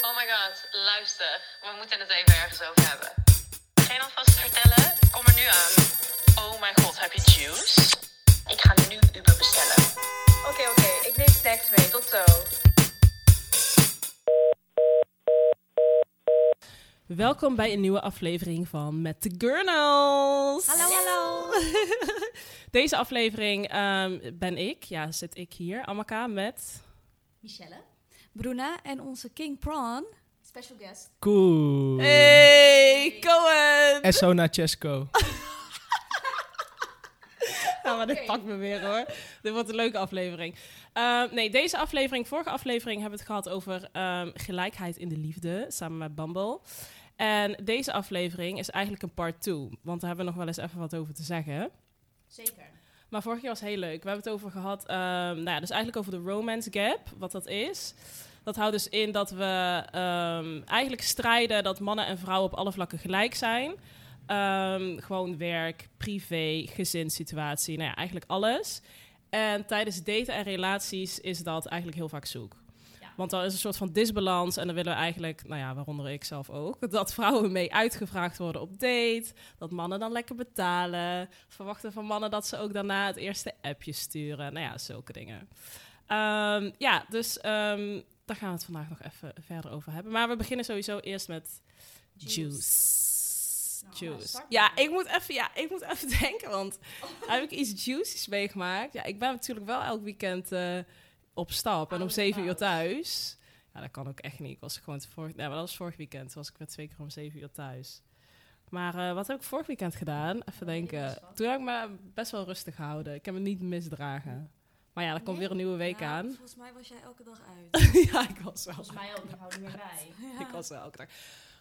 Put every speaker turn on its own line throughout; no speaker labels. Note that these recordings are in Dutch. Oh my god, luister. We moeten het even ergens over hebben. Geen alvast vertellen? Kom er nu aan. Oh my god, heb je juice? Ik ga nu Uber bestellen. Oké, oké. Ik neem snacks mee. Tot zo.
Welkom bij een nieuwe aflevering van Met de Gurnals.
Hallo, hallo.
Deze aflevering ehm, ben ik, ja, zit ik hier, Amaka, met...
Michelle. Bruna en onze King Prawn. Special guest.
Cool.
Hey, Cohen!
Esso Nachesco.
Ja, maar dit pakt me weer hoor. Dit wordt een leuke aflevering. Ehm, nee, deze aflevering, vorige aflevering hebben we het gehad over ehm, gelijkheid in de liefde, samen met Bumble. En deze aflevering is eigenlijk een part 2, want daar hebben we nog wel eens even wat over te zeggen.
Zeker.
Maar vorige keer was heel leuk. We hebben het over gehad, ehm, nou ja, dus eigenlijk over de romance gap, wat dat is. Dat houdt dus in dat we ehm, eigenlijk strijden dat mannen en vrouwen op alle vlakken gelijk zijn. Ehm, gewoon werk, privé, gezinssituatie, nou ja, eigenlijk alles. En tijdens daten en relaties is dat eigenlijk heel vaak zoek. Want dan is een soort van disbalans en dan willen we eigenlijk, nou ja, waaronder ik zelf ook, dat vrouwen mee uitgevraagd worden op date, dat mannen dan lekker betalen, verwachten van mannen dat ze ook daarna het eerste appje sturen, nou ja, zulke dingen. Ehm, ja, dus ehm, daar gaan we het vandaag nog even verder over hebben. Maar we beginnen sowieso eerst met juice. Nou,
Nou,
Juice. Ja ik, moet even, ja, ik moet even denken, want heb ik iets juicies meegemaakt? Ja, ik ben natuurlijk wel elk weekend eh, op stap en om zeven uur thuis. Ja, dat kan ook echt niet. Ik was gewoon te vorig, nee, maar dat was vorig weekend. Toen was ik weer twee keer om zeven uur thuis. Maar eh, wat heb ik vorig weekend gedaan? Even denken. Toen heb ik me best wel rustig gehouden. Ik heb me niet misdragen. Maar ja, er komt weer een nieuwe week aan.
Nou, Volgens mij was jij elke dag uit.
ja, ik was wel.
Volgens mij ook, ik hou er meer bij.
Ik was wel elke dag.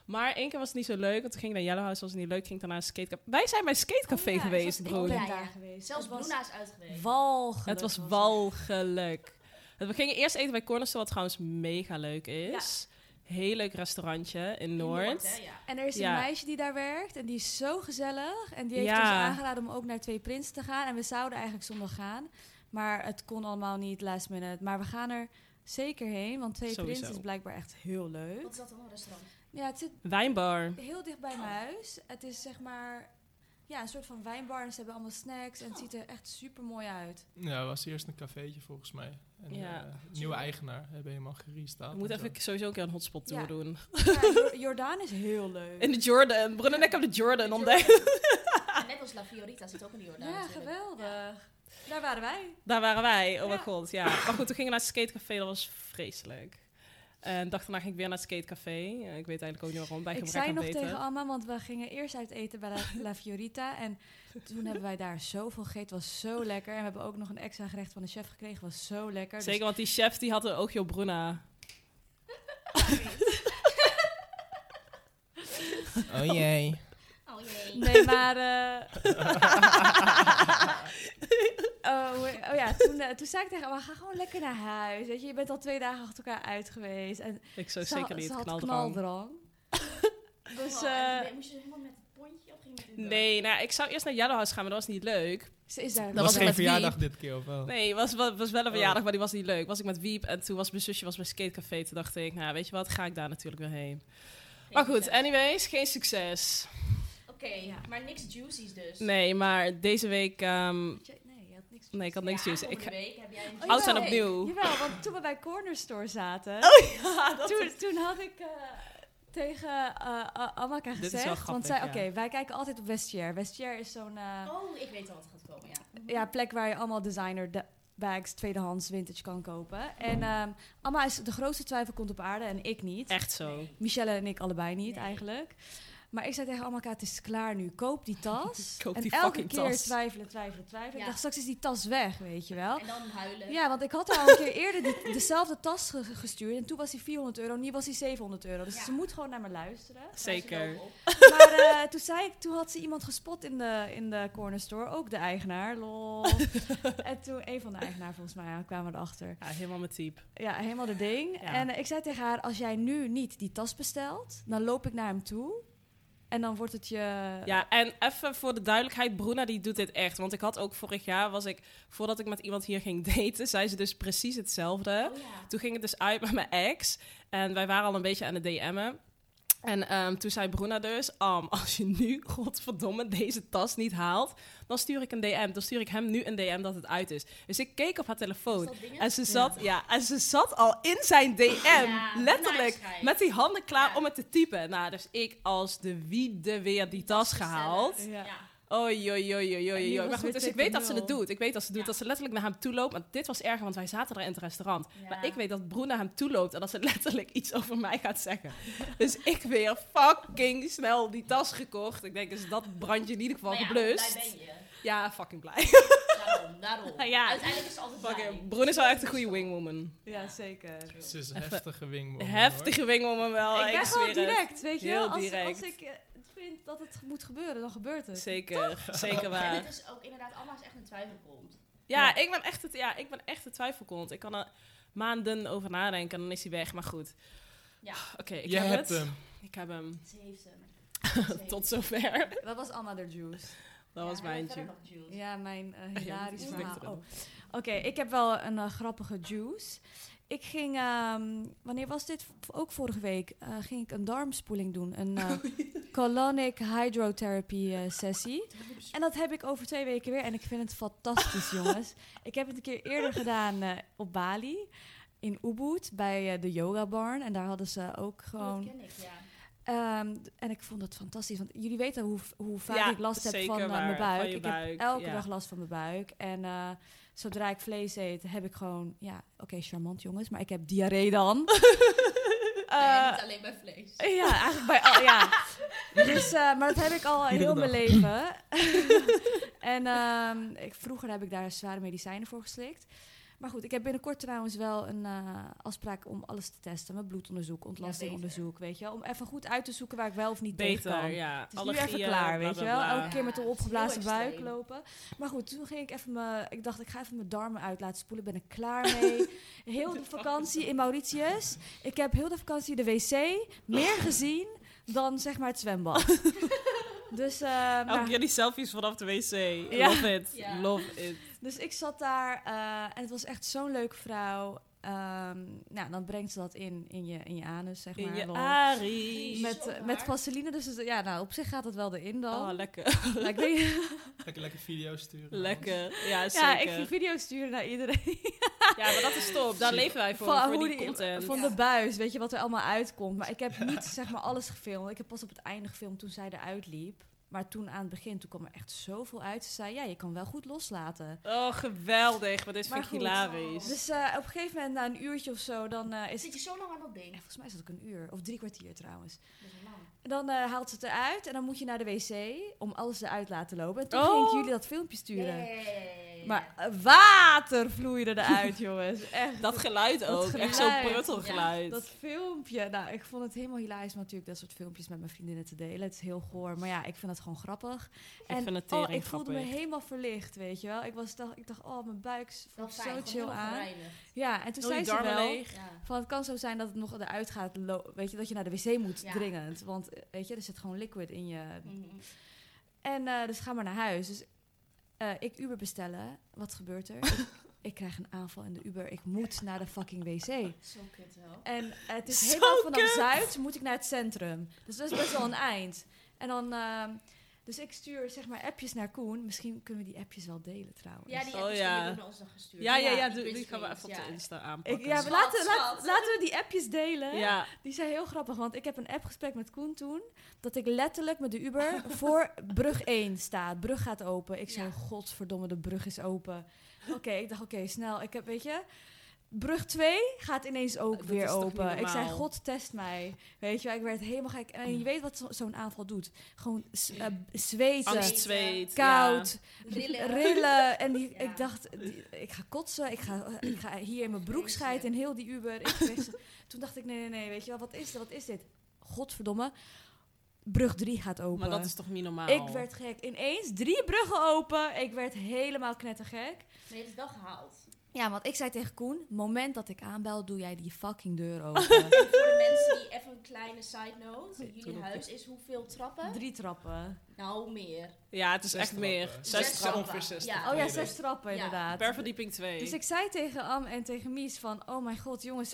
Maar één keer was het niet zo leuk. Want toen ging ik naar Yellow House, was het niet leuk. Ging ik daarna naar skatecafé. Wij zijn bij skatecafé
Oh ja,
geweest,
ik was-
bro.
ik
Ja, ja.
geweest.
Zelfs
Het was
Bruna is uit geweest.
Walgelijk.
Het was
was
walgelijk. We gingen eerst eten bij Cornerstone, wat trouwens mega leuk is. Heel leuk restaurantje in
In
Noord.
hè, ja.
En er is
Ja.
een meisje die daar werkt en die is zo gezellig. En die heeft
Ja.
ons aangeraden om ook naar Twee Prinsen te gaan. En we zouden eigenlijk zondag gaan. Maar het kon allemaal niet last minute. Maar we gaan er zeker heen, want Twee
Sowieso.
Prinsen is blijkbaar echt heel leuk.
Wat is dat dan, een restaurant?
Ja, het zit
Wijnbar.
heel dicht bij mijn huis. Het is zeg maar ja, een soort van wijnbar en ze hebben allemaal snacks en het ziet er echt super mooi uit.
Ja, het was eerst een cafeetje volgens mij. En,
Ja.
eh, nieuwe eigenaar hebben helemaal gerestyled.
We moeten
en zo.
even sowieso een keer een hotspot tour
Ja.
doen.
Ja, Jo- Jordaan is heel leuk.
In de Jordan. Brun en ik hebben de Jordan ontdekt.
En Ah, net als La Fiorita zit ook in die Jordaan
ja,
natuurlijk.
geweldig. Daar waren wij.
Daar waren wij. Oh mijn
Ja.
god, ja. Maar goed, toen gingen we naar het skatecafé. Dat was vreselijk. En de dag daarna ging ik weer naar het skatecafé. Eh, Ik weet eigenlijk ook niet waarom. Bij
Ik
gebrek
zei
aan
nog
daten.
tegen Alma, want we gingen eerst uit eten bij La, La Fiorita. En toen hebben wij daar zoveel gegeten. Het was zo lekker. En we hebben ook nog een extra gerecht van de chef gekregen. Het was zo lekker. Dus
Zeker, want die chef die had een oogje op Bruna.
Oh jee.
Oh jee.
Nee, maar. eh, oh, hoe- oh ja, toen, eh, toen zei ik tegen haar: ga gewoon lekker naar huis. Weet je, je bent al twee dagen achter elkaar uit geweest. En
Ik zou
ze,
zeker
had-
niet
ze had
knaldrang.
dus
Oh, en
eh,
ben- moest je helemaal met het pontje of ging je met Uber?
Nee, nou, ik zou eerst naar Yellow House gaan, maar dat was niet leuk.
ze is daar.
Dat
was
was
geen
met
verjaardag dit keer, of wel?
Nee, was, was, was
Oh.
wel een verjaardag, maar die was niet leuk. Was ik met Wiep en toen was mijn zusje was bij Skatecafé. Toen dacht ik, nou weet je wat, ga ik daar natuurlijk weer heen.
Geen
Maar goed,
succes.
anyways, geen succes.
Oké, maar niks juicies dus.
Nee, maar deze week ehm,
Nee, je had niks niks.
Nee, ik had niks juist. Ik
Ik
ga
week heb jij een
Oh,
oud zijn
jawel.
opnieuw. Oh,
Jawel, want toen we bij Corner Store zaten,
Oh,
toen, toen had ik eh, tegen eh, A- Amaka
Dit is
gezegd,
wel
want
grappig,
zij,
ja.
oké, wij kijken altijd op Vestiaire. Vestiaire is zo'n eh,
Oh, ik weet al wat er gaat komen, ja.
ja, plek waar je allemaal designer da- bags, tweedehands, vintage kan kopen. En ehm Amma is de grootste twijfel komt op aarde en ik niet.
Echt zo.
Michelle en ik allebei niet
Nee.
eigenlijk. Maar ik zei tegen Amaka, het is klaar nu. Koop die tas.
Koop
en
die
elke
fucking
keer
tas.
twijfelen, twijfelen, twijfelen.
Ja.
Ik dacht, straks is die tas weg, weet je wel.
En dan huilen.
Ja, want ik had haar al een keer eerder die- dezelfde tas ge- gestuurd. En toen was die 400 euro, nu was die 700 euro. Dus
Ja.
ze moet gewoon naar me luisteren.
Zeker.
Maar eh, toen, zei ik, toen had ze iemand gespot in de, in de corner store. Ook de eigenaar, lol. en toen, een van de eigenaar volgens mij, ja, kwamen we erachter.
Ja, helemaal mijn type.
Ja, helemaal de ding.
Ja.
En eh, ik zei tegen haar, als jij nu niet die tas bestelt, dan loop ik naar hem toe. En dan wordt het je...
Ja, en even voor de duidelijkheid, Bruna die doet dit echt. Want ik had ook vorig jaar, was ik, voordat ik met iemand hier ging daten, zei ze dus precies hetzelfde.
Oh, ja.
Toen ging het dus uit met mijn ex. En wij waren al een beetje aan het DM'en. En ehm, toen zei Bruna dus, "Am, als je nu, godverdomme, deze tas niet haalt, dan stuur ik een DM. Dan stuur ik hem nu een DM dat het uit is. Dus ik keek op haar telefoon.
Dus dat dingen?
En ze zat, ja. en ze zat al in zijn DM,
Ja,
letterlijk,
nice guy.
met die handen klaar
Ja.
om het te typen. Nou, dus ik als de wiede weer die tas gehaald.
Ja.
Ja.
Oei, oei, oei, oei,
En die
oei, oei.
was
Maar goed,
weer
dus ik weet dat ze het
2.0.
doet. Ik weet dat ze het doet.
Ja.
Dat ze letterlijk naar hem toe loopt. Maar dit was erger, want wij zaten daar in het restaurant.
Ja.
Maar ik weet dat Broen naar hem toe loopt en dat ze letterlijk iets over mij gaat zeggen. dus ik weer fucking snel die tas gekocht. Ik denk, is dat brandje in ieder geval
Maar Nou ja,
geblust?
blij ben je.
Ja, fucking blij.
Daarom, daarom.
Nou ja.
Uiteindelijk is het altijd blij.
Fucking, Broen is wel echt een goede wingwoman.
Ja, zeker.
Ze is een heftige wingman.
Heftige wingwoman wel.
ik ben gewoon
oh, zweer het.
direct, weet je
Heel
wel. Als,
direct.
als ik eh, vind dat het moet gebeuren, dan gebeurt het.
Zeker, zeker
En
waar.
het is ook inderdaad allemaal als echt een twijfel komt.
Ja, Ik ben echt het, ja, ik ben echt de twijfelkont. Ik kan er maanden over nadenken en dan is hij weg. Maar goed.
Ja.
Oké, ik
Je
heb
hebt
het.
hem.
Ik heb hem.
Ze heeft hem. Ze heeft hem.
Tot zover. Dat
Dat was Anna de Juice.
was
Ja, en
mijn
verder
tune.
nog Jules.
Ja, mijn eh,
dat
hilarisch
is
verhaal.
niks
Oh.
aan.
Oké, ik heb wel een eh, grappige juice. Ik ging, ehm, wanneer was dit? V- Ook vorige week eh, ging ik een darmspoeling doen. Een eh, colonic hydrotherapy eh, sessie. En dat heb ik over twee weken weer. En ik vind het fantastisch, jongens. Ik heb het een keer eerder gedaan eh, op Bali. In Ubud, bij eh, de yoga barn. En daar hadden ze ook
Oh,
gewoon...
dat ken ik, ja.
Ehm, d- en ik vond dat fantastisch. Want jullie weten hoe, v- hoe vaak
Ja,
ik last heb
zeker
van eh,
waar,
mijn
van
buik.
je
Ik
buik,
heb elke
ja.
dag last van mijn buik. En eh, zodra ik vlees eet, heb ik gewoon... Ja, oké, charmant jongens, maar ik heb diarree dan.
Nee,
Eh,
niet alleen bij vlees.
ja, eigenlijk bij al... Ja. Dus, eh, maar dat heb ik al heel mijn leven. en ehm, ik, vroeger heb ik daar zware medicijnen voor geslikt. Maar goed, ik heb binnenkort trouwens wel een eh, afspraak om alles te testen. Mijn bloedonderzoek, ontlastingonderzoek, weet je wel. Om even goed uit te zoeken waar ik wel of niet tegen kan.
Beter, ja.
Het is nu even klaar, weet je wel. Elke keer met een
Ja, het is
opgeblazen
heel
buik
extreem.
lopen. Maar goed, toen ging ik even mijn... Ik dacht, ik ga even mijn darmen uit laten spoelen. Ben ik klaar mee. heel de vakantie in Mauritius. Ik heb heel de vakantie de wc meer gezien dan zeg maar het zwembad. dus, eh, nou,
Elke keer die selfies vanaf de wc.
Ja.
Love it.
Ja.
Love it.
dus ik zat daar eh, en het was echt zo'n leuke vrouw. Ehm, nou, dan brengt ze dat in, in, je, in je anus, zeg maar.
In je
lol.
Ari.
met,
Zo
met
waar.
vaseline, dus het- ja, nou, op zich gaat dat wel erin dan.
Oh, lekker.
Maar ik weet-
Lekker, lekker video's sturen. man.
Lekker. Ja, zeker.
ja, ik ging video's sturen naar iedereen.
Ja, maar dat is top. Daar leven wij voor,
van,
voor
hoe
die content.
van de buis, weet je wat er allemaal uitkomt. Maar ik heb niet zeg maar alles gefilmd. Ik heb pas op het einde gefilmd toen zij eruit liep. Maar toen aan het begin, toen kwam er echt zoveel uit. Ze zei, ja, je kan wel goed loslaten.
Oh, geweldig. Maar dit
Maar
vind ik
goed.
hilarisch.
Dus eh, op een gegeven moment, na een uurtje of zo, dan eh, is
Zit je zo lang aan dat ding?
En volgens mij is dat ook een uur, of drie kwartier trouwens.
Dat is lang.
En dan eh, haalt ze het eruit en dan moet je naar de wc om alles eruit te laten lopen. En toen
Oh.
ging ik jullie dat filmpje
Ja,
sturen.
ja, ja, ja, ja, ja.
Maar eh, water vloeide eruit, jongens. Echt.
dat geluid ook. Echt zo'n
geluid.
pruttelgeluid.
Dat filmpje, nou, ik vond het helemaal hilarisch om natuurlijk dat soort filmpjes met mijn vriendinnen te delen. Het is heel goor, maar ja, ik vind het gewoon grappig.
Ik vind het
oh,
tering
ik voelde me
grappig.
helemaal verlicht, weet je wel. Ik, was, dacht, ik dacht, oh, mijn buik
dat
voelt
fijn.
zo
gewoon
chill
helemaal
aan.
gereinigd.
Ja, en toen
Heel die
zei ze
darmen
wel...
leeg.
Ja.
Van het kan zo zijn dat het nog eruit gaat, lo- weet je, dat je naar de wc moet
Ja.
dringend. Want eh, weet je, er zit gewoon liquid in je.
Mhm.
En eh, dus ga maar naar huis. Dus eh, ik Uber bestellen. Wat gebeurt er? ik, ik krijg een aanval in de Uber. Ik moet naar de fucking wc.
Zo kut wel.
Oh,
En het is
Zo
helemaal vanaf
kut.
Zuid moet ik naar het centrum. Dus dat is best wel een eind. En dan, ehm, Dus ik stuur zeg maar appjes naar Koen. Misschien kunnen we die appjes wel delen trouwens.
Ja, die
Oh,
hebben ze
ja.
jullie naar ons dan gestuurd.
Ja, ja, ja,
die
doe- die,
quiz
gaan we
games,
even op de
ja.
Insta aanpakken.
Ik, ja, we
Schat,
laten,
schat.
laten- laten we die appjes delen.
ja.
Die zijn heel grappig, want ik heb een appgesprek met Koen toen. Dat ik letterlijk met de Uber voor brug 1 sta. Brug gaat open. Ik zei,
Ja.
godverdomme, de brug is open. Oké, ik dacht, oké, snel. Ik heb, weet je... Brug 2 gaat ineens ook
Dat
weer
is toch
open.
niet
Ik zei,
normaal?
god, test mij. Weet je wel, ik werd helemaal gek. En je weet wat zo- zo'n aanval doet. Gewoon s- eh, b- zweten,
Angst, zweet.
koud,
Rillen.
rillen. En die,
Ja.
ik dacht, die- ik ga kotsen, ik ga, ik ga hier in mijn broek scheiden en heel die Uber. Ik kreeg ze- toen dacht ik, nee, nee, nee, weet je wel, wat is dit, wat is dit? Godverdomme, brug 3 gaat
Ja.
open.
Maar dat is nou- toch niet normaal?
ik werd gek. Ineens drie bruggen open. Ik werd helemaal knettergek.
Nee, dat is wel gehaald.
Ja, want ik zei tegen Koen, moment dat ik aanbel, doe jij die fucking deur open.
Voor de
Ah.
mensen die even een kleine side note. Jullie
doe dat.
huis is hoeveel trappen?
drie trappen.
Nou, meer.
Ja, het is
Zes
echt
trappen.
meer.
Zes
Zes trappen.
eh, ongeveer 60.
Ja.
Oh ja,
treden.
zes
Ja.
trappen inderdaad.
Per verdieping 2.
Dus ik zei tegen Am en tegen Mies van... Oh mijn god, jongens,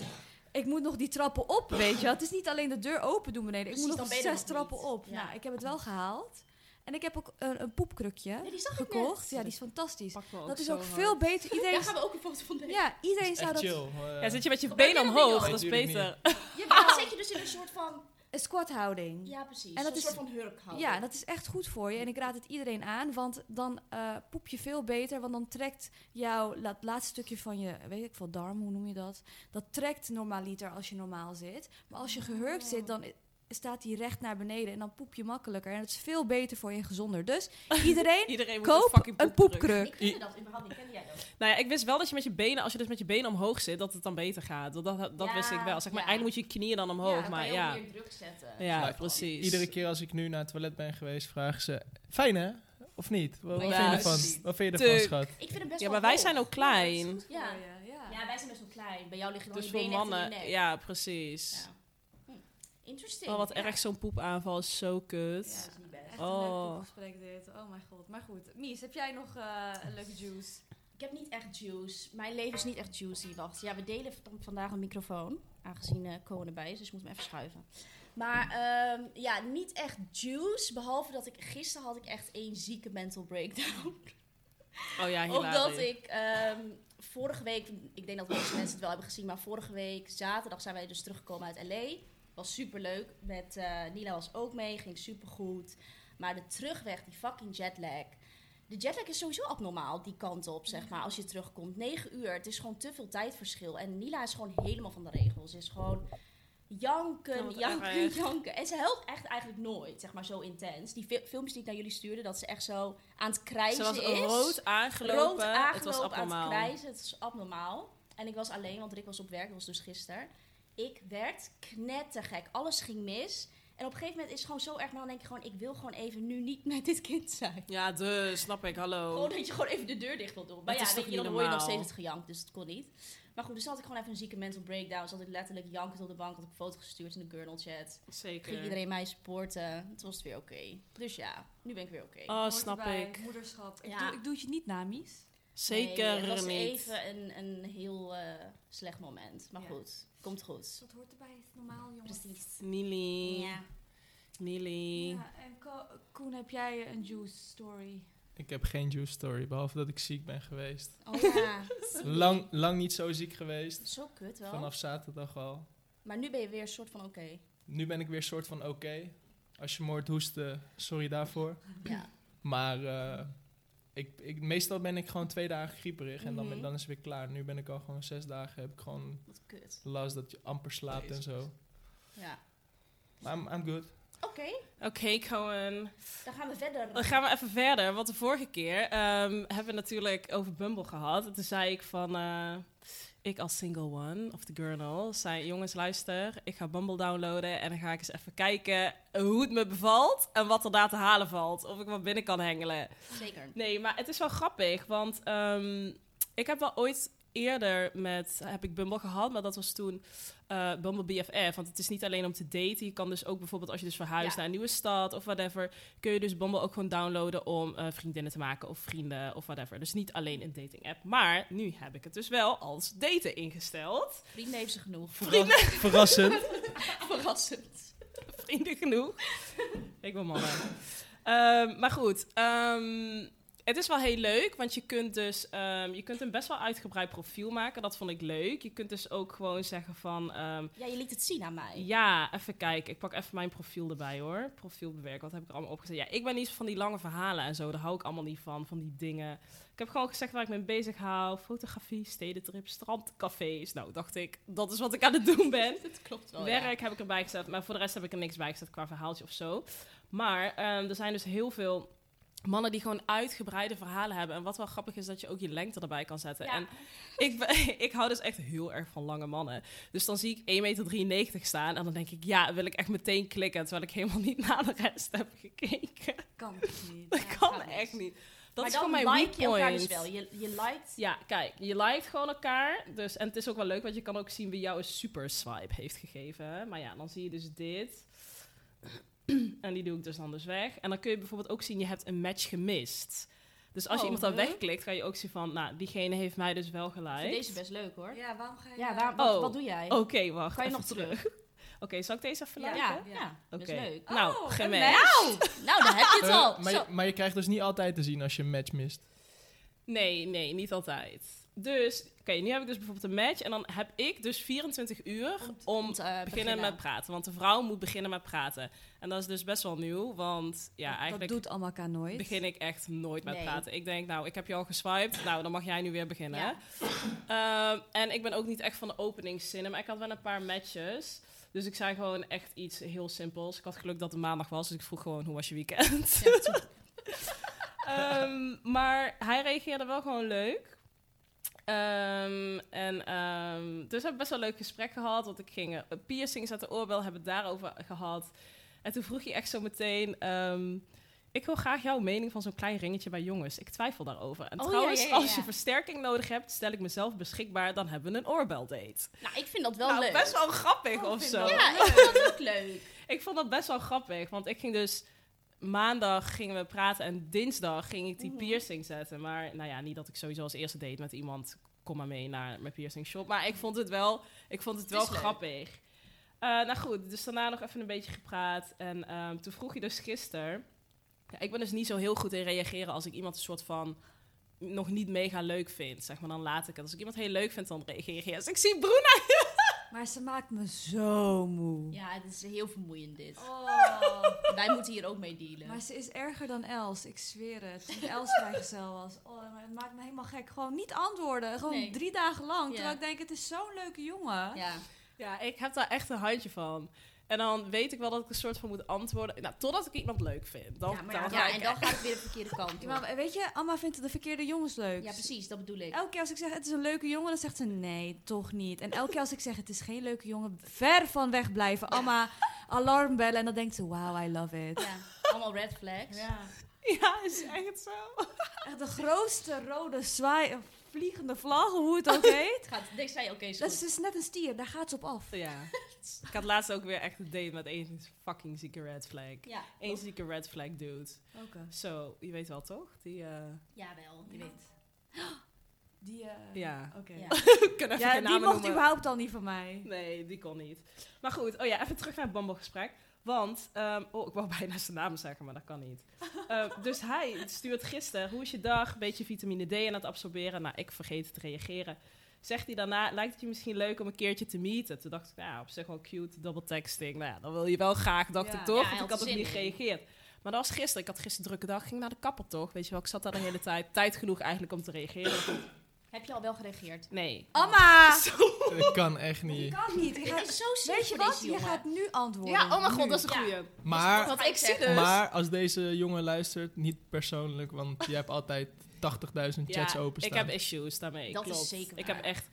ik moet nog die trappen op, weet je wel. Het is niet alleen de deur open doen beneden. Ik
Precies,
moet
dan
nog
ben je
zes
er nog
trappen
niet.
op.
Ja.
Nou, ik heb het wel gehaald. En ik heb ook een, een poepkrukje
Ja, die zag ik
gekocht.
net.
Ja, die is fantastisch.
Pak wel
Dat is
zo
ook
hard.
veel beter. Iedereen,
Daar gaan we ook een foto van nemen.
ja, iedereen
Echt
zou dat...
chill. eh,
Ja, zit je met je
Kom,
benen
maar ik ben er
omhoog,
niet
dat is
op. Nee,
beter.
Jawel, dan zit je dus in een soort van...
Een squathouding.
Ja, precies.
En dat
een
is-
soort van hurkhouding.
Ja, dat is echt goed voor je. En ik raad het iedereen aan, want dan eh, poep je veel beter. Want dan trekt jouw la- laatste stukje van je, weet ik veel, darm, hoe noem je dat? Dat trekt normaliter als je normaal zit. Maar als je
Oh.
gehurkt zit, dan i- staat die recht naar beneden. En dan poep je makkelijker. En het is veel beter voor je en gezonder. Dus iedereen,
Iedereen moet een
koop
fucking
een
poepkruk.
poepkruk.
Ik kende dat überhaupt niet. Kende jij dat?
Nou ja, ik wist wel dat je met je benen, als je dus met je benen omhoog zit, dat het dan beter gaat. Dat, dat, dat
Ja,
wist ik wel. Zeg maar,
ja.
eigenlijk moet je knieën dan omhoog.
dan
maar
kan je
ja,
ook meer druk zetten.
ja
Nou,
precies.
Iedere keer als ik nu naar het toilet ben geweest, vragen ze... Fijn hè? Of niet? Wat, wat
Ja,
vind je ervan?
precies.
Wat vind je ervan,
Tuuk.
schat?
Ik vind hem best
Ja,
wel
maar wij
hoog.
zijn ook klein.
Ja.
ja.
Ja, wij zijn best wel klein. Bij jou liggen dan
Dus
je
voor
benen echt in je
mannen,
nek.
ja, precies.
Ja. Hm. Interesting.
Oh, wat
ja.
erg, zo'n poepaanval is zo
Ja, dat
kut.
is niet best.
Echt
een leuk Oh.
gesprek dit. Oh mijn god. Maar goed. Mies, heb jij nog eh, een leuke juice?
Oh,
Ik heb niet echt juice. Mijn leven is niet echt juicy. Wacht, ja, we delen v- vandaag een microfoon. Aangezien eh Cohen erbij is, dus ik moet hem even schuiven. Maar ehm, ja, niet echt juice. Behalve dat ik gisteren had ik echt één zieke mental breakdown.
Oh ja,
Omdat
hilarisch.
ik ehm, vorige week, ik denk dat de meeste mensen het wel hebben gezien, maar vorige week zaterdag zijn wij dus teruggekomen uit LA. Was super leuk. Met eh, Nila was ook mee, ging super goed. Maar de terugweg, die fucking jetlag. De jetlag is sowieso abnormaal die kant op, zeg maar, als je terugkomt. 9 uur, het is gewoon te veel tijdverschil. En Nila is gewoon helemaal van de regels. Ze is gewoon
Ja,
janken,
wat
janken,
erg.
janken. En ze helpt echt eigenlijk nooit, zeg maar, zo intens. Die fi- filmpjes die ik naar jullie stuurde, dat ze echt zo aan het
Ze
krijgen
was
is.
rood aangelopen.
Rood aangelopen
het was
aan het
abnormaal.
krijzen. Het is abnormaal. En ik was alleen, want Rick was op werk. Dat was dus gisteren. Ik werd knettergek. Alles ging mis. En op een gegeven moment is het gewoon zo erg. Maar dan denk je gewoon, ik wil gewoon even nu niet met dit kind zijn.
Ja, dus, snap ik, hallo.
Gewoon dat je gewoon even de deur dicht wil doen. Maar
Dat is
ja,
toch
weet je, dan
niet
hoor je nog
normaal?
steeds het gejank. Dus het kon niet. Maar goed, dus had ik gewoon even een zieke mental breakdown. Zat ik letterlijk jankend op de bank. Had ik een foto gestuurd in de Gurnal chat. Ging
Zeker.
iedereen mij supporten. Toen was het weer oké. Dus ja, nu ben ik weer oké.
Oh, snap ik.
Moederschap. Ik,
Ja.
doe, ik doe het je niet na, Mies.
Zeker
nee, het was
niet.
even een, een heel eh, slecht moment. Maar
Ja.
goed, komt goed.
Dus Dat hoort erbij. Het is normaal, jongens.
Precies.
Nili.
Ja.
Nili.
Ja, en Ko- Koen, heb jij een juice story?
Ik heb geen juice story, behalve dat ik ziek ben geweest.
Oh ja.
Lang, lang niet zo ziek geweest.
Zo kut wel.
Vanaf zaterdag al.
Maar nu ben je weer een soort van oké.
Nu ben ik weer soort van oké. Als je moord hoesten, sorry daarvoor.
Ja.
Maar eh, ik, ik, meestal ben ik gewoon twee dagen grieperig en dan, ben-
Mhm.
dan is het weer klaar. Nu ben ik al gewoon zes dagen, heb ik gewoon
Wat kut.
last dat je amper slaapt en zo.
Ja.
Maar I'm, I'm good.
Oké,
Oké, Cohen.
dan gaan we verder.
Dan gaan we even verder. Want de vorige keer ehm, hebben we natuurlijk over Bumble gehad. En toen zei ik van, eh, ik als single one of the girl zei, jongens luister, ik ga Bumble downloaden en dan ga ik eens even kijken hoe het me bevalt en wat er daar te halen valt. Of ik wat binnen kan hengelen.
Zeker.
Nee, maar het is wel grappig, want ehm, ik heb wel ooit eerder met, heb ik Bumble gehad, maar dat was toen eh, Bumble BFF. Want het is niet alleen om te daten, je kan dus ook bijvoorbeeld als je dus verhuist
Ja.
naar een nieuwe stad of whatever, kun je dus Bumble ook gewoon downloaden om eh, vriendinnen te maken of vrienden of whatever. Dus niet alleen een dating app, maar nu heb ik het dus wel als daten ingesteld.
Vrienden heeft ze genoeg.
Verras- verrassend.
Verrassend.
Vrienden genoeg. ik wil mannen. Ehm, maar goed, ehm, het is wel heel leuk, want je kunt dus ehm, je kunt een best wel uitgebreid profiel maken. Dat vond ik leuk. Je kunt dus ook gewoon zeggen van, ehm,
Ja, je liet het zien aan mij.
ja, even kijken. Ik pak even mijn profiel erbij hoor. Profiel bewerken, wat heb ik er allemaal opgezet? Ja, ik ben niet van die lange verhalen en zo. Daar hou ik allemaal niet van, van die dingen. Ik heb gewoon gezegd waar ik mee bezig hou. Fotografie, stedentrip, strandcafés. Nou, dacht ik, dat is wat ik aan het doen ben.
Dat klopt wel. Oh, ja.
Werk heb ik erbij gezet, maar voor de rest heb ik er niks bij gezet qua verhaaltje of zo. Maar ehm, er zijn dus heel veel mannen die gewoon uitgebreide verhalen hebben. En wat wel grappig is, dat je ook je lengte erbij kan zetten.
Ja.
En ik, ben- ik hou dus echt heel erg van lange mannen. Dus dan zie ik 1,93 meter staan en dan denk ik, ja, wil ik echt meteen klikken. Terwijl ik helemaal niet naar de rest heb gekeken.
Kan het niet.
Dat
Ja, het
kan
gaat niet.
echt niet. Dat
maar
is
dan
gewoon mijn
like
weak
je elkaar dus
point.
wel. Je, je liked.
Ja, kijk, je liked gewoon elkaar. Dus, en het is ook wel leuk, want je kan ook zien wie jou een super swipe heeft gegeven. hè. Maar ja, dan zie je dus dit. En die doe ik dus dan dus weg. En dan kun je bijvoorbeeld ook zien, je hebt een match gemist. Dus als je
Oh,
iemand dan
huh?
wegklikt, kan je ook zien van... Nou, diegene heeft mij dus wel
Ik vind
gelijk.
deze best leuk hoor. Ja,
Ja, waarom ga je...
waar- wat,
Oh.
wat doe jij?
Oké, wacht.
kan je
even
nog terug?
Oké, zal ik deze even
Ja,
liken?
ja,
Ja.
best
Oké.
leuk.
Nou,
Oh,
geen match.
Nou, nou, daar heb je het
Eh,
al.
maar,
Zo.
je, maar je krijgt dus niet altijd te zien als je een match mist.
Nee, nee, niet altijd. Dus, oké, nu heb ik dus bijvoorbeeld een match. En dan heb ik dus 24 uur om
Om te, eh,
beginnen met praten. Want de vrouw moet beginnen met praten. En dat is dus best wel nieuw, want ja,
dat
eigenlijk
doet Amaka nooit.
begin ik echt nooit met
Nee.
praten. Ik denk, nou, ik heb je al geswiped, nou, dan mag jij nu weer beginnen.
Ja.
Ehm, en ik ben ook niet echt van de openingszinnen, maar ik had wel een paar matches. Dus ik zei gewoon echt iets heel simpels. Ik had geluk dat het maandag was, dus ik vroeg gewoon, hoe was je weekend?
Ja, zo.
Ehm, maar hij reageerde wel gewoon leuk. Ehm, en, ehm, dus we hebben best wel een leuk gesprek gehad. Want ik ging eh, piercings uit de oorbel, hebben het daarover gehad. En toen vroeg hij echt zo meteen... ehm, ik wil graag jouw mening van zo'n klein ringetje bij jongens. Ik twijfel daarover. En
Oh, ja,
trouwens,
ja, ja,
als je
ja.
versterking nodig hebt, stel ik mezelf beschikbaar. Dan hebben we een oorbel-date.
Nou, ik vind dat wel
nou,
leuk.
best wel grappig of zo.
Ja, ik vind dat ook leuk.
Ik vond dat best wel grappig, want ik ging dus maandag gingen we praten en dinsdag ging ik die
Mhm.
piercing zetten. Maar nou ja, niet dat ik sowieso als eerste date met iemand kom maar mee naar mijn piercing shop. Maar ik vond het wel, ik vond het wel
is leuk.
grappig. Eh, nou goed, dus daarna nog even een beetje gepraat en ehm, toen vroeg je dus gisteren. Ja, ik ben dus niet zo heel goed in reageren als ik iemand een soort van nog niet mega leuk vind. Zeg maar, dan laat ik het. Als ik iemand heel leuk vind, dan reageer ik. Als ik zie Bruna.
Maar ze maakt me zo moe.
Ja, het is heel vermoeiend dit.
Oh.
Wij moeten hier ook mee dealen.
Maar ze is erger dan Els, ik zweer het. Toen Els vrijgezel was. Oh, maar het maakt me helemaal gek. Gewoon niet antwoorden. Gewoon
Nee.
drie dagen lang.
Ja.
Terwijl ik denk, het is zo'n leuke jongen.
ja.
Ja, ik heb daar echt een handje van. En dan weet ik wel dat ik een soort van moet antwoorden. Nou, totdat ik iemand leuk vind. Dan,
Ja, maar ja,
dan ga
ja,
ik
en dan gaat het weer de verkeerde kant
Ja,
op.
maar weet je, Amma vindt de verkeerde jongens leuk.
Ja, precies, dat bedoel ik.
Elke keer als ik zeg het is een leuke jongen, dan zegt ze nee, toch niet. En elke keer als ik zeg het is geen leuke jongen, ver van weg blijven. Amma, alarm bellen en dan denkt ze, wow, I love it.
Ja, allemaal red flags.
Ja, is echt zo.
Echt de grootste rode zwaai, vliegende vlag, hoe het ook heet.
Het gaat, ik zei, oké, is
Dat
goed.
is dus net een stier, daar gaat ze op af.
Ja. ik had laatst ook weer echt een date met één fucking zieke red flag.
Ja,
Eén zieke red flag dude.
Oké.
Zo, je weet wel toch? Die, eh
jawel, je weet.
Die, eh,
ja.
Oké.
Ja.
Kunnen
Ja, die mocht überhaupt al niet van mij.
Nee, die kon niet. Maar goed, oh ja, even terug naar het bamboegesprek. Want, ehm, oh, ik wou bijna zijn naam zeggen, maar dat kan niet. Ehm, dus hij stuurt gisteren, hoe is je dag? Beetje vitamine D aan het absorberen. Nou, ik vergeet te reageren. Zegt hij daarna, lijkt het je misschien leuk om een keertje te meeten? Toen dacht ik, nou, ja, op zich wel cute, double texting. Nou ja, dan wil je wel graag, dacht
Ja.
ik toch?
Ja,
want
hij had
ik had ook
zin
niet
in.
gereageerd. Maar dat was gisteren. Ik had gisteren een drukke dag, ging naar de kapper toch? Weet je wel, ik zat daar de hele tijd. Tijd genoeg eigenlijk om te reageren.
Heb je al wel gereageerd?
Nee.
Ah.
Amma!
Dat kan echt niet.
Kan niet. Je
Het
gaat,
is zo ziek
weet je
voor
wat?
deze
Je
jongen.
gaat nu antwoorden.
Ja, oh mijn god,
Nu.
dat is een
Ja.
goeie.
Maar
Want ik zie
dus.
Maar als deze jongen luistert, niet persoonlijk, want je hebt altijd 80.000 chats
ik
openstaan.
heb issues daarmee.
Dat is
klopt.
zeker
Ik
waar.
heb echt.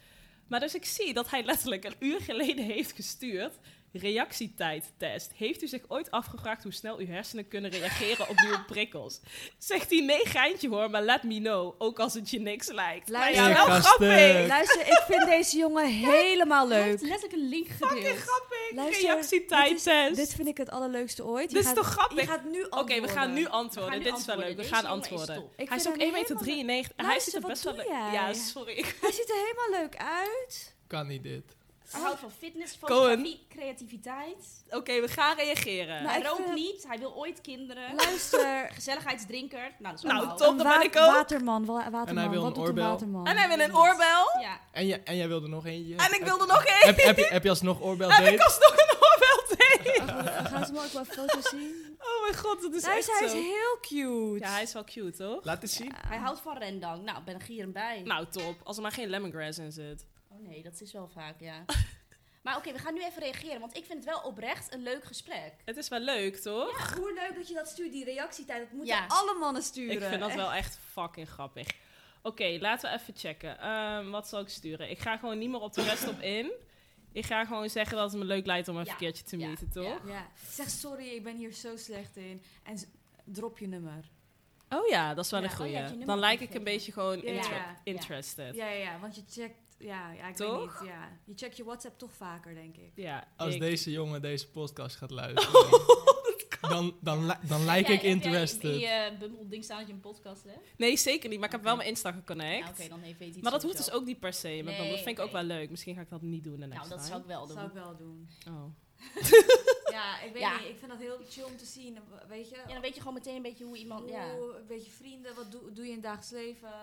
Maar dus ik zie dat hij letterlijk een uur geleden heeft gestuurd. Reactietijdtest. Heeft u zich ooit afgevraagd hoe snel uw hersenen kunnen reageren op nieuwe prikkels? Zegt hij nee, geintje hoor, maar let me know. Ook als het je niks lijkt. Maar ja,
Luister.
wel
Ik ga
grappig.
stuk.
Luister, ik vind deze jongen helemaal
Hij heeft
leuk.
letterlijk een link
Fucking
gedeeld.
grappig.
Luister,
Reactietijdtest.
Dit vind ik het allerleukste ooit.
Dit
Je
is
gaat-
toch grappig?
Je gaat nu
Oké,
antwoorden.
we gaan nu
We gaan
antwoorden.
nu
dit is wel leuk.
antwoorden.
We
Deze
gaan
jongen is
antwoorden.
top.
Ik
hij is
vind
ook
hem
1,93 meter.
helemaal-
hij
Luister,
ziet er
wat
best wel
doe
leuk.
jij?
Ja, sorry.
Hij ziet er helemaal leuk uit.
Kan niet dit.
Hij houdt van fitness,
Ah. Cohen.
fotografie, creativiteit.
Oké, we gaan reageren.
Nou,
hij
ik
rookt
vind-
niet, hij wil ooit kinderen.
Luister.
Gezelligheidsdrinker. Nou, dat is
Nou,
allemaal.
top.
een
dan
wa-
ben ik ook.
Waterman, wa- waterman.
En hij wil
Wat
een
doet
oorbel.
waterman?
en hij wil een oorbel.
Ja.
En, je, en jij wilde nog eentje.
En ik
Heb-
wilde nog één.
Heb, heb, je, heb je alsnog oorbel
En ik
deed?
alsnog een oorbel tegen.
Gaan- Gaan ze me ook wel foto's zien?
Oh mijn god, dat is
Hij is,
echt
hij is
zo.
heel cute.
Ja, hij is wel cute, toch?
Laat eens zien.
Hij houdt van rendang. Nou, ben ik hier en bij.
Nou, top. Als er maar geen lemongrass in zit.
Oh nee, dat is wel vaak, ja. maar oké, we gaan nu even reageren, want ik vind het wel oprecht een leuk gesprek.
Het is wel leuk, toch?
Hoe leuk dat je dat stuurt, die reactietijd. Dat moeten
Ja.
alle mannen sturen.
ik vind dat
Echt.
wel echt fucking grappig. Oké, laten we even checken. Ehm, wat zal ik sturen? Ik ga gewoon niet meer op de rest op in. Ik ga gewoon zeggen dat het me leuk lijkt om even
Ja,
een keertje te
ja,
meten,
ja.
toch?
Ja. Zeg sorry, ik ben hier zo slecht in. En z- drop je nummer.
Oh ja, dat is wel
Ja,
een
oh ja,
goeie.
dat je nummer
Dan lijk ik
gegeven.
een beetje gewoon
Ja, ja,
inter-
ja.
interested. Ja,
Ja, ja, ja, want je checkt... Ja, ja ik
Toch?
weet niet. Ja. Je checkt je WhatsApp toch vaker, denk ik.
Als
ik-
Oh,
Oh,
deze jongen deze podcast gaat luisteren, dan, dan, li- dan lijk ik
Heb
interested.
jij in die eh, Bumble-ding staan dat je een podcast hebt?
Nee, zeker niet. Maar ik heb wel
Oké.
mijn Insta geconnect.
Nou, oké, dan heeft weet hij
maar
het
dat hoeft dus
sowieso.
ook niet per se. Maar
Nee,
dat vind ik ook
oké.
wel leuk. Misschien ga ik dat niet doen de next
Nou, dat
time.
zou ik wel
Dat
doen.
zou ik wel doen.
Oh.
Ja, ik weet
Ja.
niet. Ik vind dat heel chill om te zien. Weet je?
Ja, dan weet je gewoon meteen een beetje hoe iemand... Ja.
Hoe- een beetje vrienden, wat doe, doe je in het dagelijks leven?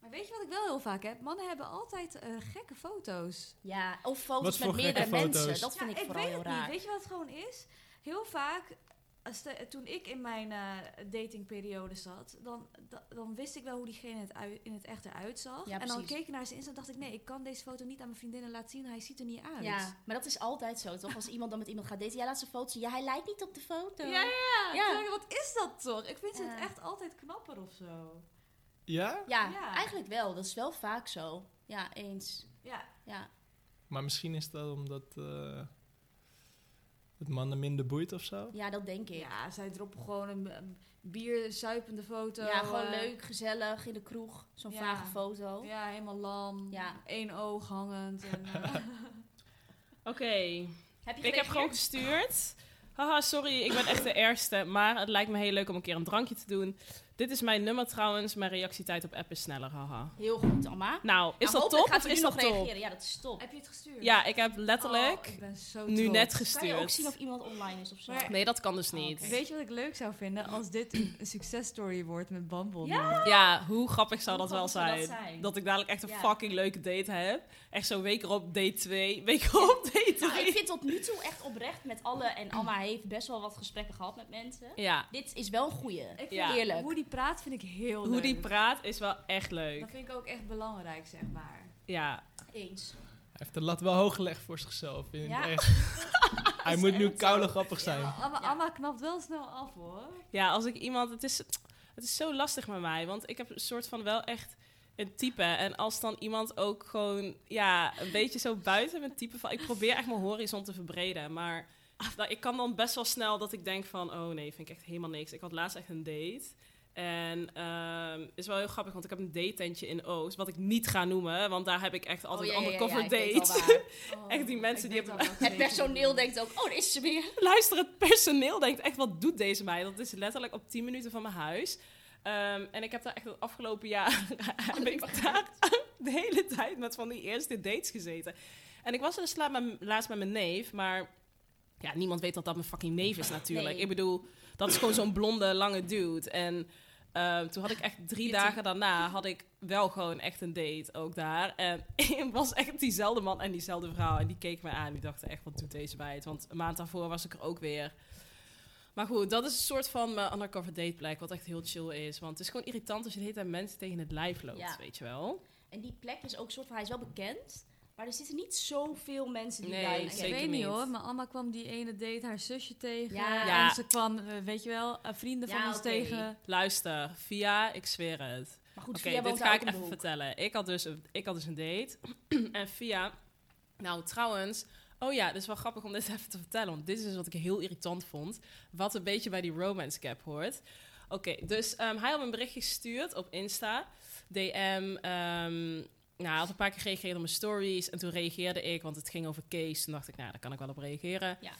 Maar weet je wat ik wel heel vaak heb? Mannen hebben altijd eh, gekke foto's.
ja, of foto's
Wat voor
met meerdere
gekke foto's?
mensen. Dat vind
Ja,
ik vooral
weet
heel
het
raar.
Niet. Weet je wat het gewoon is? Heel vaak, als de- toen ik in mijn eh, datingperiode zat, dan, da- dan wist ik wel hoe diegene het ui- in het echt eruit zag.
Ja,
en dan
precies.
keek ik naar zijn Insta en dacht ik, nee, ik kan deze foto niet aan mijn vriendinnen laten zien. Hij ziet er niet uit.
Ja, maar dat is altijd zo, toch? Als iemand dan met iemand gaat daten, jij laat zijn foto zien. Ja, hij lijkt niet op de foto.
Ja, ja, ja.
Ja.
Terwijl, Wat is dat toch? Ik vind ze het
Ja.
echt altijd knapper of zo.
Ja?
Ja,
Ja.
eigenlijk wel. Dat is wel vaak zo. Ja, eens.
Ja,
Ja.
Maar misschien is dat omdat eh, het mannen minder boeit of zo?
ja, dat denk ik. Ja,
ja zij droppen gewoon een, een bierzuipende foto.
gewoon
eh,
leuk, gezellig, in de kroeg. Zo'n
ja.
vage foto.
Ja, helemaal lam.
Ja.
Eén oog hangend. En, eh,
Oké.
Heb je
Ik heb gewoon gestuurd. Haha, sorry, ik ben echt de ergste. Maar het lijkt me heel leuk om een keer een drankje te doen. Dit is mijn nummer trouwens. Mijn reactietijd op app is sneller. Haha.
Heel goed, Alma.
Nou, is
Nou,
dat
hopelijk
top
Gaat
of
u
is
nu nog
dat top?
reageren? Ja, dat is top.
heb je het gestuurd?
Ja, ik heb letterlijk
Oh, ik ben zo
nu
trots.
net
Kan je ook zien
gestuurd.
of iemand online is of zo?
Maar-
Nee, dat kan dus niet.
Oh, oké.
Weet je wat ik leuk zou vinden als dit een een successtory wordt met Bumble?
Ja.
Ja, hoe grappig zou
Hoe
dat wel
grappig zou dat
zijn?
zijn?
Dat ik dadelijk echt een
Ja.
fucking leuke date heb. Echt zo'n week erop date 2, week erop date
Nou, ik
3.
vind tot nu toe echt oprecht met alle... En Alma heeft best wel wat gesprekken gehad met mensen.
Ja,
Dit is wel een goeie.
Ik vind
Ja.
Eerlijk.
Hoe die praat vind ik heel leuk.
hoe die praat is wel echt
Dat
leuk.
vind ik ook echt belangrijk, zeg maar.
Ja,
Eens.
Hij heeft de lat wel hoog gelegd voor zichzelf. In
Ja.
het echt. Hij moet nu koude grappig zijn.
Amma,
Ja.
Amma knapt wel snel af hoor.
Ja, als ik iemand. Het is, het is zo lastig met mij. Want ik heb een soort van wel echt een type. En als dan iemand ook gewoon. Ja, een beetje zo buiten mijn type van. Ik probeer echt mijn horizon te verbreden. Maar dat, ik kan dan best wel snel dat ik denk van. Oh nee, vind ik echt helemaal niks. Ik had laatst echt een date. En ehm is wel heel grappig, want ik heb een date-tentje in Oost. Wat ik niet ga noemen, want daar heb ik echt altijd
Oh, ja, ja, ja,
undercover
ja, ik weet
dates.
al waar.
Oh,
Echt die mensen die hebben-
Het personeel denkt ook, oh, daar is ze weer.
Luister, het personeel denkt echt, wat doet deze meid? Dat is letterlijk op 10 minuten van mijn huis. Ehm, en ik heb daar echt het afgelopen jaar
Oh,
heb ik daar de hele tijd met van die eerste dates gezeten. En ik was dus laat met- laatst met mijn neef, maar ja, niemand weet dat dat mijn fucking neef is natuurlijk.
Nee.
Ik bedoel, dat is gewoon zo'n blonde, lange dude. En ehm, toen had ik echt drie dagen daarna, had ik wel gewoon echt een date ook daar. En was echt diezelfde man en diezelfde vrouw. En die keek me aan, die dachten echt, wat doet deze meid? Want een maand daarvoor was ik er ook weer. Maar goed, dat is een soort van mijn undercover dateplek, wat echt heel chill is. Want het is gewoon irritant als je de hele tijd mensen tegen het lijf loopt,
Ja.
weet je wel.
En die plek is ook soort van, hij is wel bekend, maar er zitten niet zoveel mensen die
Nee,
daar
Ik
zeker
weet niet
niet.
hoor, maar Amma kwam die ene date haar zusje tegen.
Ja.
Ja.
En ze kwam, eh, weet je wel, eh, vrienden van
Ja,
ons
oké.
tegen.
Luister, via, ik zweer het.
Maar goed,
Oké,
via woont
dit ga
daar ook
ik
om de
even
hoek.
vertellen. Ik had, dus een, ik had dus een date. en via... Nou, trouwens... Oh ja, dat is wel grappig om dit even te vertellen. Want dit is dus wat ik heel irritant vond. Wat een beetje bij die romance cap hoort. Oké, dus ehm, hij had me een berichtje gestuurd op Insta. DM. ehm, nou, hij had een paar keer gereageerd op mijn stories. En toen reageerde ik, want het ging over Kees. Toen dacht ik, nou, daar kan ik wel op reageren.
Ja.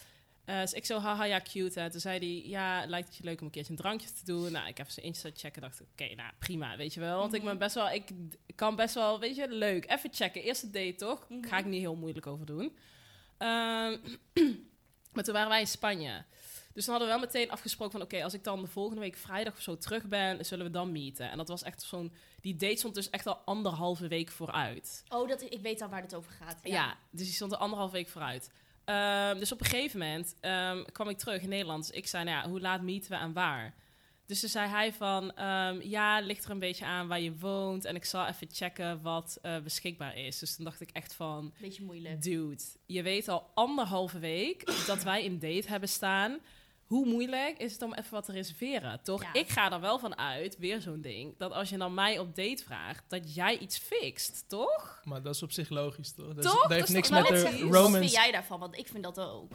Eh, dus ik zo, haha, ja, cute hè. Toen zei hij, ja, het lijkt het je leuk om een keertje een drankje te doen. Nou, ik heb zijn Insta checken dacht, ik, oké, nou, prima, weet je wel. Want ik ben best wel, ik d- kan best wel, weet je, leuk. Even checken, eerste date toch? Ga ik niet heel moeilijk over doen. Ehm, maar toen waren wij in Spanje. Dus dan hadden we wel meteen afgesproken van... oké, als ik dan de volgende week vrijdag of zo terug ben... zullen we dan meeten. En dat was echt zo'n... die date stond dus echt al anderhalve week vooruit.
Oh, dat, ik weet al waar het over gaat.
Ja, dus die stond er anderhalf week vooruit. Ehm, dus op een gegeven moment ehm, kwam ik terug in Nederland. Dus ik zei, nou ja, hoe laat meeten we en waar? Dus toen zei hij van, ehm, ja, ligt er een beetje aan waar je woont. En ik zal even checken wat eh, beschikbaar is. Dus toen dacht ik echt van,
Beetje moeilijk.
dude, je weet al anderhalve week dat wij een date hebben staan. Hoe moeilijk is het om even wat te reserveren, toch?
Ja.
Ik ga er wel van uit, weer zo'n ding, dat als je dan mij op date vraagt, dat jij iets fixt, toch?
Maar dat is op zich logisch, toch? Dat, is-
Toch?
dat
Dat
heeft
is
niks
toch
met
Maar
logisch?
wat
de
zeg- Wat vind
romance...
jij daarvan? Want ik vind dat ook.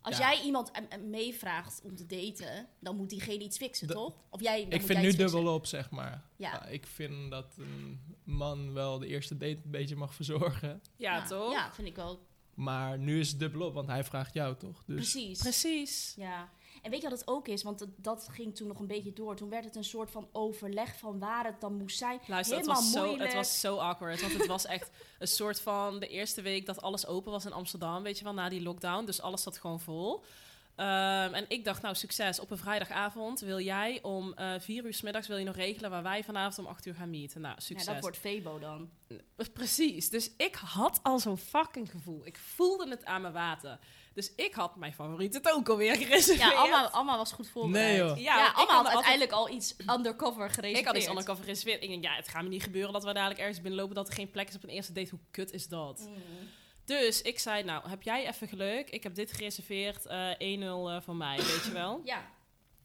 Als jij iemand eh, eh, meevraagt om te daten, dan moet diegene iets fixen,
Dat-
toch? Of jij, dan
Ik
moet
vind
jij
nu
iets fixen.
dubbel op, zeg maar.
Ja.
Nou, ik vind dat een man wel de eerste date een beetje mag verzorgen.
Ja, toch?
Nou, Ja, vind ik
Dus-
wel.
Maar nu is het dubbel op, want hij vraagt jou toch? Dus
Precies.
Precies.
Ja. En weet je wat het ook is? Want dat, dat ging toen nog een beetje door. Toen werd het een soort van overleg van waar het dan moest zijn.
Luister, het
Helemaal
was, zo,
moeilijk.
het was zo awkward. Want het was echt een soort van de eerste week dat alles open was in Amsterdam. Weet je wel, na die lockdown. Dus alles zat gewoon vol. Ehm, en ik dacht, nou, succes. Op een vrijdagavond wil jij om eh, vier uur s middags wil je nog regelen waar wij vanavond om acht uur gaan meeten. Nou,
Ja,
succes.
dat wordt Febo dan.
Precies. Dus ik had al zo'n fucking gevoel. Ik voelde het aan mijn water. Dus ik had mijn favoriete het ook alweer gereserveerd.
Ja, Alma, Alma was goed voorbereid.
Nee, joh.
Ja,
want ik
Alma
had
had
altijd-
uiteindelijk al iets undercover gereserveerd.
Ik had iets undercover gereserveerd. Ik denk, ja, het gaat me niet gebeuren dat we dadelijk ergens binnenlopen dat er geen plek is op een eerste date. Hoe kut is dat?
Mm.
Dus ik zei, nou, heb jij even geluk? Ik heb dit gereserveerd. eh, 1-0 eh, voor mij, weet je wel.
Ja,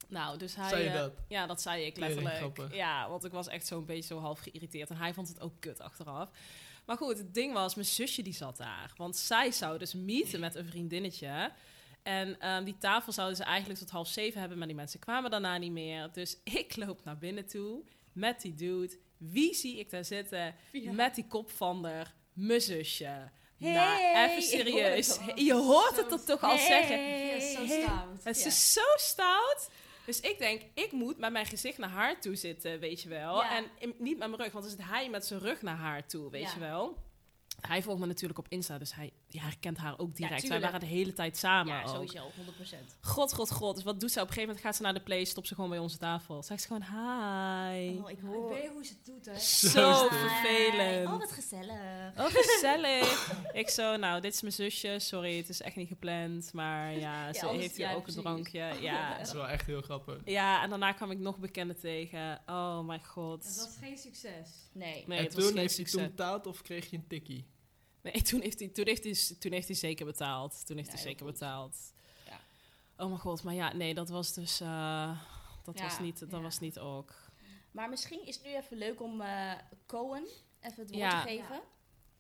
Nou, dus hij...
Zei je
eh,
dat?
ja, dat zei ik
Tering
letterlijk.
grappig.
Ja, want ik was echt zo'n beetje zo half geïrriteerd. En hij vond het ook kut achteraf. Maar goed, het ding was, mijn zusje die zat daar. Want zij zou dus meeten met een vriendinnetje. En ehm, die tafel zouden ze eigenlijk tot half zeven hebben. Maar die mensen kwamen daarna niet meer. Dus ik loop naar binnen toe met die dude. Wie zie ik daar zitten? Met die kop van der, mijn zusje.
Hey,
nou, even
ik hoor het
serieus.
al.
je hoort het er toch al zeggen.
Yes, zo
Hey.
stout.
Het
Ja.
is zo stout. Dus ik denk, ik moet met mijn gezicht naar haar toe zitten, weet je wel.
Ja.
En in- niet met mijn rug, want dan zit hij met zijn rug naar haar toe, weet
Ja.
je wel. Hij volgt me natuurlijk op Insta, dus hij die herkent haar ook direct. Wij
tuurlijk.
waren de hele tijd samen
Ja,
ook.
sowieso, 100%.
God, god, god. Dus wat doet ze? Op een gegeven moment gaat ze naar de play, stopt ze gewoon bij onze tafel. Zegt ze gewoon, hi.
Oh, ik
Ik
hoor.
weet hoe ze het doet, hè.
zo
Hi.
vervelend.
Oh, wat gezellig.
Oh, gezellig. ik zo, nou, dit is mijn zusje. Sorry, het is echt niet gepland. Maar ja, ze
anders-
heeft hier
ja,
ook
precies.
een drankje. Ja,
dat is wel echt heel grappig.
Ja, en daarna kwam ik nog bekenden tegen. Oh mijn god.
Dat was geen succes.
Nee.
Nee,
en
het was
toen
geen
heeft hij toen
succes.
betaald of kreeg je een tikkie?
Nee, toen heeft hij, toen heeft hij, toen heeft hij zeker betaald. Toen heeft
Ja,
hij
heel
zeker
goed.
betaald.
Ja.
Oh mijn god, maar ja, nee, dat was dus... eh, dat
Ja,
was niet, dat
ja.
was niet ook.
Maar misschien is het nu even leuk om eh, Cohen even het woord
Ja.
te geven.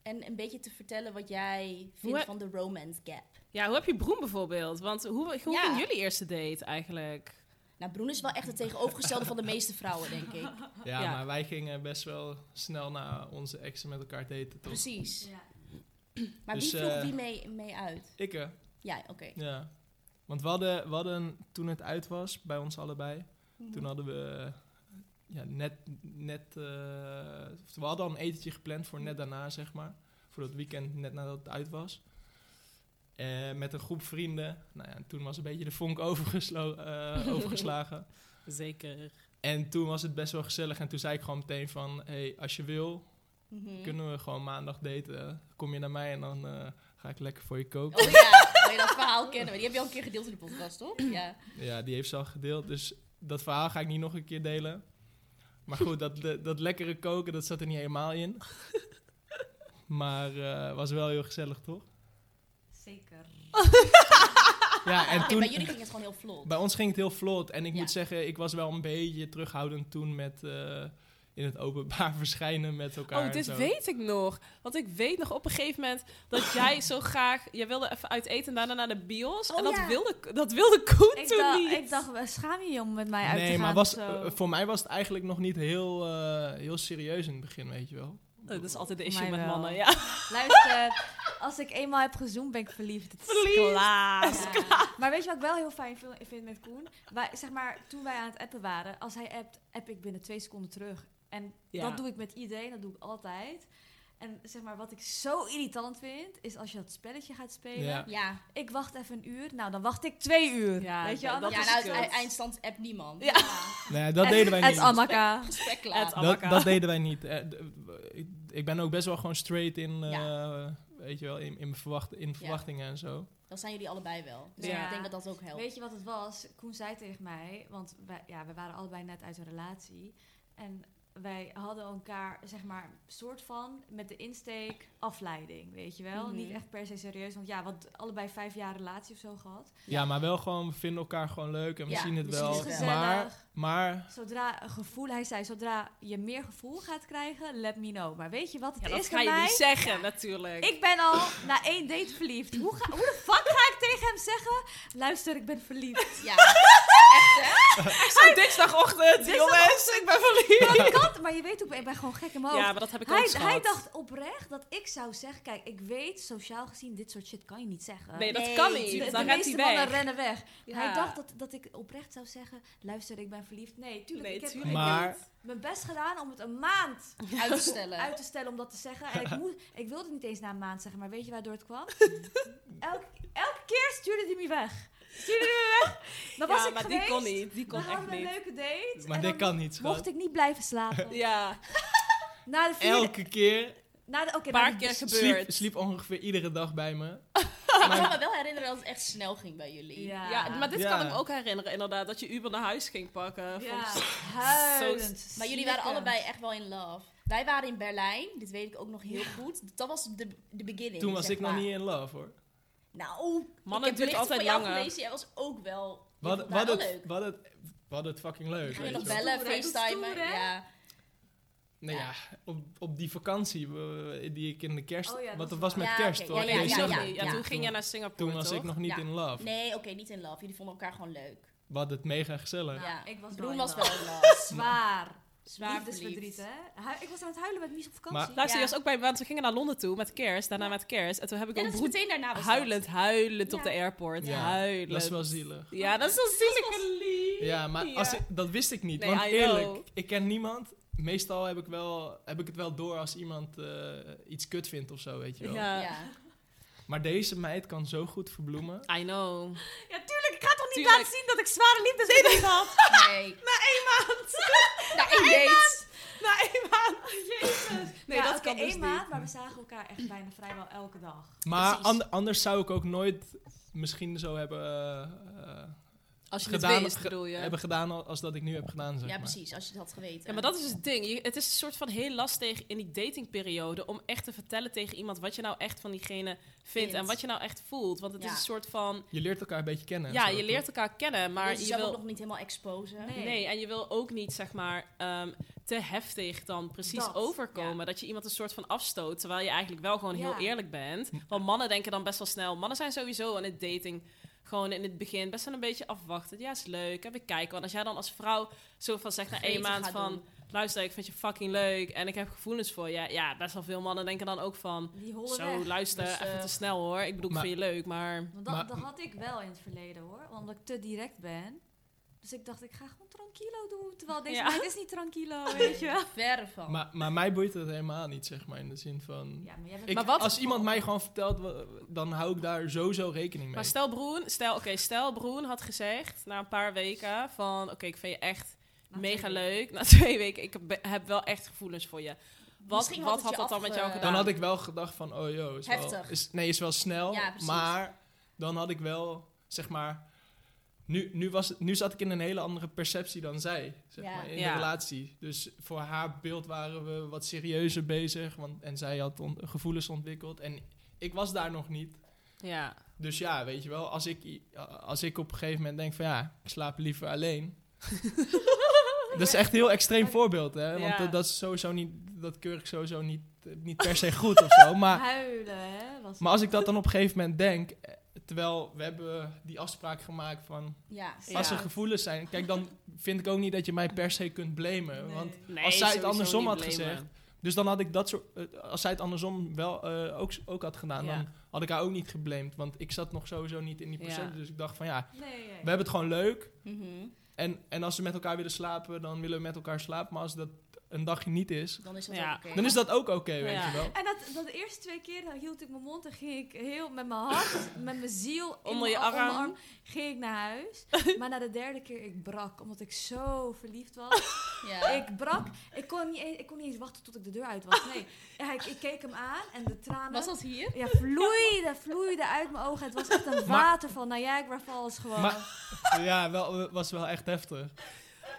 En een beetje te vertellen wat jij
Hoe
vindt
he-
van de romance gap.
Ja, hoe heb je Broen bijvoorbeeld? Want hoe, hoe
Ja.
ging jullie eerste date eigenlijk?
Nou, Broen is wel echt het tegenovergestelde van de meeste vrouwen, denk ik.
Ja,
Ja.
maar wij gingen best wel snel na onze exen met elkaar daten, toch?
Precies.
Ja.
Maar
Dus,
wie vroeg
eh,
wie mee, mee uit?
Ik, hè?
Ja, oké.
Ja. Want we hadden, we hadden, toen het uit was, bij ons allebei, toen hadden we ja, net, net eh, of we hadden al een etentje gepland voor net daarna, zeg maar. Voor dat weekend, net nadat het uit was. Eh, met een groep vrienden. Nou ja, en toen was een beetje de vonk overgeslo- eh, overgeslagen.
Zeker.
En toen was het best wel gezellig. En toen zei ik gewoon meteen van... hey, als je wil,
Mhm.
kunnen we gewoon maandag daten. Kom je naar mij en dan eh, ga ik lekker voor je koken.
Oh ja, oh ja, dat verhaal kennen we. Die heb je al een keer gedeeld in de podcast, toch? Ja.
Ja, die heeft ze al gedeeld. Dus dat verhaal ga ik niet nog een keer delen. Maar goed, dat, le- dat lekkere koken, dat zat er niet helemaal in. Maar eh, was wel heel gezellig, toch?
Zeker.
Ja, en
Oké,
toen...
Bij jullie ging het gewoon heel vlot.
Ah. Bij ons ging het heel vlot. En ik
Ja.
moet zeggen, ik was wel een beetje terughoudend toen met... eh, in het openbaar verschijnen met elkaar
Oh,
en
dit
zo.
weet ik nog. Want ik weet nog op een gegeven moment dat jij zo graag... Jij wilde even uit eten en daarna naar de bios.
Oh,
en dat,
ja.
wilde, dat wilde Koen
Ik,
toen
dacht-
niet.
ik dacht, eh, schaam je je om met mij uit te gaan?
Nee, maar was,
of zo?
eh, voor mij was het eigenlijk nog niet heel, eh, heel serieus in het begin, weet je wel.
Oh, dat is altijd de
Voor
issue
mij
met
wel.
mannen, ja.
Luister, Als ik eenmaal heb gezoomd, ben ik verliefd. Het is
Verliefd.
klaar.
Ja.
Maar weet je wat ik wel heel fijn vil- vind met Koen? Wij, zeg maar, toen wij aan het appen waren, als hij appt, app ik binnen twee seconden terug. En
Ja.
dat doe ik met iedereen, dat doe ik altijd. En zeg maar, wat ik zo irritant vind, is als je dat spelletje gaat spelen.
Ja.
Ja,
Ik wacht even een uur, nou dan wacht ik twee uur.
Ja,
weet je
dat-
wel?
dat
Dat
ja
is
nou,
kut.
het e- eindstand app niemand.
Ja.
Nee, Nou dat
En-
deden wij
Het
niet.
Amaka.
Gesprek
Het
klaar.
Dat,
Amaka.
dat deden wij niet. Eh, d- w- ik- Ik ben ook best wel gewoon straight in, eh, weet je wel, in, in, mijn verwacht, in verwachtingen en zo.
Dan zijn jullie allebei wel. Dus
Ja.
ik denk dat dat ook helpt.
Weet je wat het was? Koen zei tegen mij, want wij, ja, we waren allebei net uit een relatie. En wij hadden elkaar, zeg maar, soort van met de insteek afleiding, weet je wel?
Mhm.
Niet echt per se serieus, want ja, we hadden allebei vijf jaar relatie of zo gehad. Dus
Ja, maar wel gewoon, we vinden elkaar gewoon leuk en we
Ja,
zien het
we zien
wel.
Het
Oh,
is gezellig.
maar, maar
Zodra een gevoel, hij zei, zodra je meer gevoel gaat krijgen, let me know. Maar weet je wat het
Ja, dat
is
ga
bij
je
mij?
niet zeggen, natuurlijk.
Ik ben al na één date verliefd. Hoe, ga, hoe de fuck ga ik tegen hem zeggen? Luister, ik ben verliefd.
Ja,
Ik zo dinsdagochtend, jongens, ik ben verliefd.
Dat kan, maar je weet ook, ik ben gewoon gek in mijn hoofd.
Ja, maar dat heb ik ook
Oh. Hij,
gehad.
hij dacht oprecht dat ik zou zeggen... Kijk, ik weet, sociaal gezien, dit soort shit kan je niet zeggen.
Nee, dat
Nee,
kan
De-
niet.
de,
Dan rent
meeste
hij
mannen
weg.
rennen weg.
Ja.
Hij dacht dat, dat ik oprecht zou zeggen... Luister, ik ben verliefd. Nee, tuurlijk.
Nee,
ik, heb,
tuurlijk.
ik heb
Maar-
mijn best gedaan om het een maand
uitstellen.
uit te stellen om dat te zeggen. En ik, moest, ik wilde het niet eens na een maand zeggen, maar weet je waardoor het kwam? Elk, elke keer stuurde hij me weg. Stuurde hij me weg. Dan was
ja,
ik
maar
geweest.
die kon niet. Die kon
we
echt
hadden een
niet.
leuke date.
Maar
en
dit
dan
kan niet, schat.
Mocht ik niet blijven slapen.
Ja,
Na de vierde...
elke keer
Na de, oké,
paar
na de-
keer
sliep,
gebeurd.
sliep ongeveer iedere dag bij me.
Ik kan me wel herinneren dat het echt snel ging bij jullie.
Ja,
Ja, maar dit
Ja.
kan ik me ook herinneren, inderdaad. Dat je Uber naar huis ging pakken.
Ja,
Volgens-
huilend.
Maar jullie waren
snikkend.
allebei echt wel in love. Wij waren in Berlijn, dit weet ik ook nog heel goed. Dat was de, de beginning.
Toen was
zeg
ik nog
maar.
niet in love hoor.
Nou,
Mannen
ik heb
duurt
berichten
altijd
van jou
langer.
gelezen. Jij was ook wel.
Wat,
je vond
wat,
mij
het,
nou, wel leuk.
wat, het, wat het fucking leuk.
Ga
weet
je nog
je wel.
bellen,
Stoer, hè?
facetimen?
Stoer, hè?
Ja.
Nou ja, op, op die vakantie eh, die ik in de kerst.
Oh ja, dat
want dat
is
was
waar.
met
Ja,
kerst
oké,
toch?
ja, ja,
ja,
December.
ja, ja.
toen ging jij naar Singapore,
Toen was
toch?
ik nog niet
Ja.
in love.
Nee, oké, niet in love. Jullie vonden elkaar gewoon leuk.
Wat het mega gezellig.
Nou,
Ja,
Ja.
ik was wel
Roen
in
was
love.
wel in love.
Zwaar.
Zwaar
Liefdesverdriet,
verliefd.
hè? Hu- ik was aan het huilen met Mies op vakantie.
Maar-
Luister,
Ja.
je was ook bij, want we gingen naar Londen toe met kerst, daarna met kerst. En toen heb ik
Ja,
een
dat is
broer
meteen daarna was dat.
huilend, huilend op
Ja.
de airport.
Ja,
Huilend.
Dat is wel zielig.
Ja, dat is wel zielig en lief.
Ja, maar Als ik, dat wist ik niet.
Nee,
want
I
eerlijk,
know.
ik ken niemand. Meestal heb ik, wel, heb ik het wel door als iemand eh, iets kut vindt of zo, weet je wel.
Ja.
Ja.
Maar deze meid kan zo goed verbloemen.
I know.
Ja, tuurlijk. Ik ga toch niet
Tuurlijk.
laten zien dat ik zware liefdesverdriet had?
Nee.
Na
één date.
Na één maand. Nee,
Ja,
dat
oké,
kan dus
één maand, maar we zagen elkaar echt bijna vrijwel elke dag.
Maar
Precies.
an- anders zou ik ook nooit misschien zo hebben, eh, eh,
Als je
gedaan,
het wist,
ge-
bedoel je.
hebben gedaan al- als dat ik nu heb gedaan, zeg
ja,
maar.
precies. Als je het had geweten.
Ja, maar dat is dus het ding. Je- het is een soort van heel lastig in die datingperiode om echt te vertellen tegen iemand wat je nou echt van diegene vindt
Vindt.
en wat je nou echt voelt. Want het
Ja.
is een soort van,
Je leert elkaar een beetje kennen. en
ja,
zo,
je
toch?
leert elkaar kennen, maar
maar je
je
zelf ook
wil
nog niet helemaal exposen.
Nee.
Nee, en je wil ook niet, zeg maar, ehm, te heftig dan precies
Dat,
overkomen. Dat je iemand een soort van afstoot, terwijl je eigenlijk wel gewoon heel
Ja.
eerlijk bent. Want mannen denken dan best wel snel. Mannen zijn sowieso aan het dating gewoon in het begin best wel een beetje afwachten. Ja, is leuk, en we kijken. Want als jij dan als vrouw zo van zegt na één
Gretig
maand
gaat
van...
doen.
Luister, ik vind je fucking leuk en ik heb gevoelens voor je. Ja, best wel veel mannen denken dan ook van...
Die hollen
Zo,
weg.
luister,
Dus,
even
eh,
te snel hoor. Ik bedoel,
maar-
ik vind je leuk, maar...
Want dat,
Maar-
dat had ik wel in het verleden hoor, omdat ik te direct ben. Dus ik dacht, ik ga gewoon tranquilo doen. Terwijl deze
Ja.
meid is niet tranquilo, weet je wel.
Verre van.
Maar, maar mij boeit het helemaal niet, zeg maar. In de zin van...
Ja, maar jij bent
Ik,
Maar wat-
Als iemand mij gewoon vertelt, wa- dan hou ik daar sowieso rekening mee.
Maar stel Broen, stel, oké, stel Broen had gezegd na een paar weken van, oké, ik vind je echt
Na twee
mega
weken.
leuk. Na twee weken, ik heb, heb wel echt gevoelens voor je. Wat,
Misschien had
wat
het
had
je
dat dan met jou
afge-
gedaan?
dan had ik wel gedacht van, oh joh, is wel,
Heftig.
is, nee, is wel snel.
Ja, precies.
maar dan had ik wel, zeg maar, nu, nu, was, het- nu zat ik in een hele andere perceptie dan zij, zeg
Ja.
maar, in
Ja.
de relatie. Dus voor haar beeld waren we wat serieuzer bezig, want, en zij had on- gevoelens ontwikkeld en ik was daar nog niet.
Ja,
Dus ja, weet je wel, als ik, i- als ik op een gegeven moment denk van ja, ik slaap liever alleen. dat is echt een heel extreem voorbeeld, hè? Want
Ja.
dat, dat is sowieso niet, dat keur ik sowieso niet, eh, niet per se goed of zo. Maar
huilen, hè. Was
maar als ik dat dan op een gegeven moment denk, eh, terwijl we hebben die afspraak gemaakt van
Ja.
als
Ja.
er gevoelens zijn, kijk dan vind ik ook niet dat je mij per se kunt blamen, want
Nee,
als zij het
sowieso
andersom
niet
had
blamen.
gezegd, Dus dan had ik dat soort. eh, als zij het andersom wel eh, ook, ook had gedaan,
Ja.
dan had ik haar ook niet geblamed. Want ik zat nog sowieso niet in die processen.
Ja.
Dus ik dacht van ja,
Nee,
we hebben het gewoon leuk.
Mhm.
En, en als we met elkaar willen slapen, dan willen we met elkaar slapen. Maar als dat een dagje niet is,
Dan is dat
Ja.
ook oké.
dan is dat ook oké, weet
Ja.
je wel.
En dat, dat de eerste twee keer dan hield ik mijn mond en ging ik heel met mijn hart, met mijn ziel in
Onder je
mijn-
arm.
onderarm, ging ik naar huis. Maar na de derde keer, ik brak, omdat ik zo verliefd was.
Ja.
Ik brak, ik kon niet, eens- ik kon niet eens wachten tot ik de deur uit was. Nee, ja, ik, ik keek hem aan en de tranen
Was dat hier?
ja, vloeiden, vloeiden uit mijn ogen. Het was echt een
Maar-
water van Niagara Falls gewoon.
Maar ja, wel, was wel echt heftig.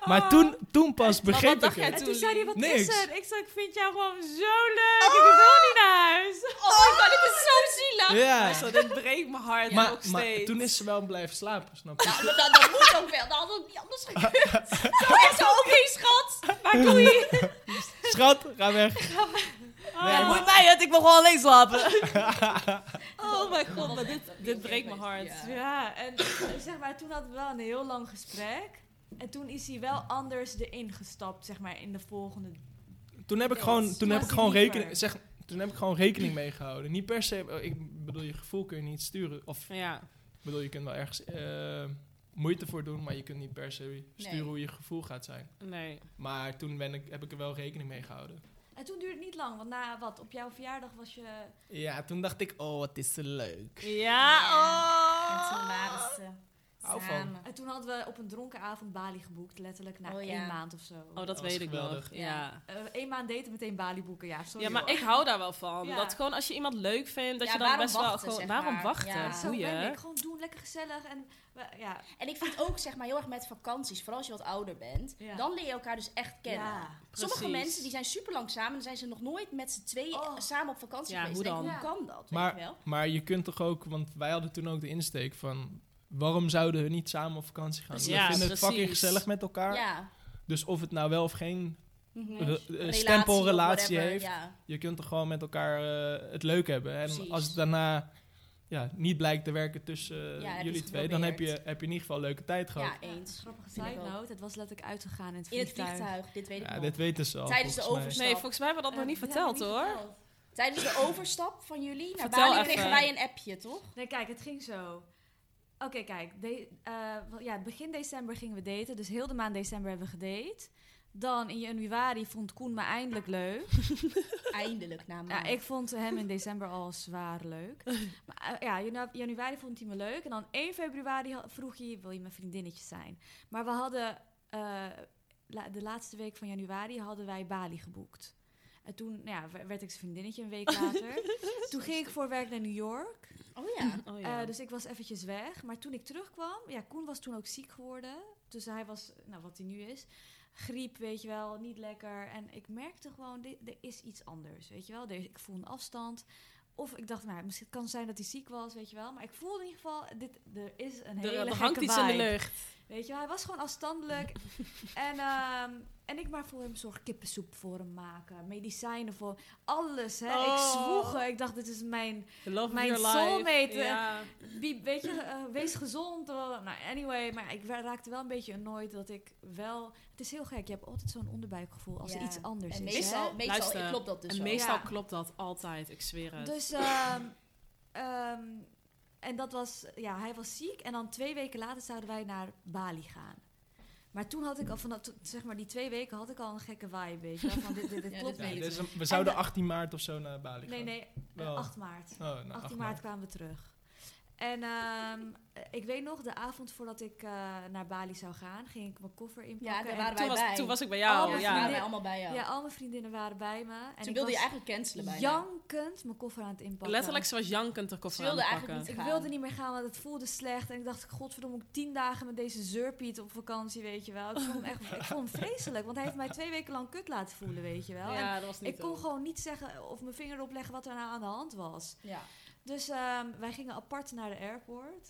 Maar toen, toen pas begreep
dacht
ik
jij
en
het.
toen zei hij, wat
Niks.
is er? Ik zei, ik vind jou gewoon zo leuk.
Ah!
Ik wil niet naar huis.
Oh my god, dit is zo zielig.
Ja,
Zo, dit breekt mijn hart
maar,
nog
maar
steeds.
toen is ze wel blijven slapen, snap je?
Nou, maar dat, dat moet ook wel. Dat had ook niet anders gekund. Zo echt zo, oké schat. Maar doei.
Schat, ga weg.
Oh,
Ja,
Nee, maar-
moet mij het, ik wil gewoon alleen slapen. oh mijn god,
was
maar
echt
dit,
een
dit
heel
breekt mijn
geweest,
hart.
ja.
Ja, en zeg maar, toen hadden we wel een heel lang gesprek. En toen is hij wel anders erin gestapt, zeg maar, in de volgende...
Toen heb ik gewoon, toen heb
was
ik gewoon
liever.
rekening, zeg, toen heb ik gewoon rekening mee gehouden. Niet per se, eh, ik bedoel, je gevoel kun je niet sturen. Of
Ja.
ik bedoel, je kunt wel ergens eh, moeite voor doen, maar je kunt niet per se sturen
Nee.
hoe je gevoel gaat zijn.
Nee.
Maar toen ben ik, heb ik er wel rekening mee gehouden.
En toen duurde het niet lang, want na wat, op jouw verjaardag was je...
Ja, toen dacht ik, oh, wat is ze leuk.
Ja,
En
oh.
toen waren ze
Hou van.
samen.
En toen hadden we op een dronken avond Bali geboekt, letterlijk na
Oh, ja.
één maand of zo.
Oh, dat
was
weet ik nog.
geweldig.
Ja.
Eén maand daten, meteen Bali boeken, ja, sorry
Ja, maar
hoor.
ik hou daar wel van.
Ja.
Dat gewoon als je iemand leuk vindt, dat
Ja,
je dan
waarom
best wel
wachten,
gewoon...
zeg
waarom
maar.
wachten?
Ja.
Zo ben
Boeien.
ik, gewoon doen, lekker gezellig. En we- ja,
En ik vind ook zeg maar heel erg met vakanties, vooral als je wat ouder bent,
Ja.
dan leer je elkaar dus echt kennen.
Ja,
Sommige
precies.
mensen die zijn super lang samen, dan zijn ze nog nooit met z'n tweeën
Oh.
samen op vakantie
Ja,
geweest.
hoe
Ik denk,
dan?
hoe kan dat? weet je
Maar,
wel?
maar je kunt toch ook, want wij hadden toen ook de insteek van... Waarom zouden we niet samen op vakantie gaan?
Ja,
we vinden het
precies.
fucking gezellig met elkaar.
Ja.
Dus of het nou wel of geen
Mhm.
re- eh,
Relatie of
stempel relatie
whatever,
heeft...
Ja.
Je kunt toch gewoon met elkaar eh, het leuk hebben. En
Precies.
als het daarna ja, niet blijkt te werken tussen eh,
Ja, heb je
jullie
het
twee... dan heb je,
geprobeerd.
heb je in ieder geval leuke tijd gehad.
ja, eens.
grappige
Vind ik
side
ook.
note, het was letterlijk uitgegaan in het
In het
vliegtuig.
vliegtuig, dit weet ik
Ja,
nog.
dit weten ze al.
Tijdens de
volgens mij.
Nee, volgens mij hebben we dat nog niet
Eh, ja,
verteld,
niet
hoor.
verteld.
Tijdens de overstap van jullie naar
Vertel
Bali
even.
kregen wij een appje, toch?
Nee, kijk, het ging zo. Oké, kijk. De, eh, wel- ja, begin december gingen we daten. Dus heel de maand december hebben we gedate. Dan in januari vond Koen me eindelijk leuk.
Eindelijk na
Ja,
maanden.
ik vond hem in december al zwaar leuk. Maar eh, ja, janu- januari vond hij me leuk. En dan 1 februari ha- vroeg hij, wil je mijn vriendinnetje zijn? Maar we hadden, eh, la- de laatste week van januari hadden wij Bali geboekt. En toen nou ja, w- werd ik zijn vriendinnetje een week later. toen ging ik voor werk naar New York.
Oh ja.
Oh,
Eh, dus ik was eventjes weg. Maar toen ik terugkwam, ja, Koen was toen ook ziek geworden. Dus hij was, nou wat hij nu is, griep, weet je wel, niet lekker. En ik merkte gewoon, dit, er is iets anders, weet je wel. Er- ik voel een afstand. Of ik dacht, nou, misschien kan het zijn dat hij ziek was, weet je wel. Maar ik voelde in ieder geval, dit, er is
er,
een hele
er
gekke
hangt iets in de
vibe.
lucht.
Weet je wel, hij was gewoon afstandelijk. en, ehm, en ik maar voor hem zorg kippensoep voor hem maken, medicijnen voor alles. Hè. Ik
Oh.
zwoeg, er. ik dacht, dit is mijn
The love
Mijn
of your life.
soulmate, eh,
Ja.
wie- weet je, eh, wees gezond. eh, nou, anyway, maar ik wa- raakte wel een beetje annoyed dat ik wel... Het is heel gek, je hebt altijd zo'n onderbuikgevoel als er
Ja.
iets anders
En
is.
meestal,
hè?
meestal
Luister,
klopt dat dus
en
ook.
meestal
Ja.
klopt dat altijd, ik zweer het.
Dus, ehm, ehm, en dat was, ja, hij was ziek. En dan twee weken later zouden wij naar Bali gaan. Maar toen had ik al, vanaf, to- zeg maar die twee weken had ik al een gekke vibe, weet je wel, Van dit, dit, dit
Ja,
klopt
dit-
Ja,
niet.
dit is een- we zouden
de-
18 maart of zo naar Bali gaan.
Nee, nee, eh,
Wel.
8 maart.
Oh, nou, 18
18
maart.
maart kwamen we terug. En ehm, eh, ik weet nog, de avond voordat ik eh, naar Bali zou gaan, ging ik mijn koffer inpakken.
daar
en
waren
toen,
wij bij.
was, toen was ik bij
Oh,
jou.
ja, waren
mijn
ja.
vriendin.
wij allemaal bij jou.
Ja, al mijn vriendinnen waren bij me. En
Toen
ik
wilde je
was
eigenlijk cancelen bijna.
jankend mijn koffer aan het inpakken.
Letterlijk, ze was jankend er koffie
Ze wilde
aan het
eigenlijk
pakken.
Ik
gaan.
wilde niet meer gaan, want het voelde slecht. En ik dacht, godverdomme, ik tien dagen met deze zeurpiet op vakantie, weet je wel. Ik vond hem echt ik vond hem vreselijk, want hij heeft mij twee weken lang kut laten voelen, weet je wel. En
Ja, dat was niet
ik kon
leuk.
gewoon niet zeggen of mijn vinger opleggen wat er nou aan de hand was.
Ja.
Dus ehm, wij gingen apart naar de airport.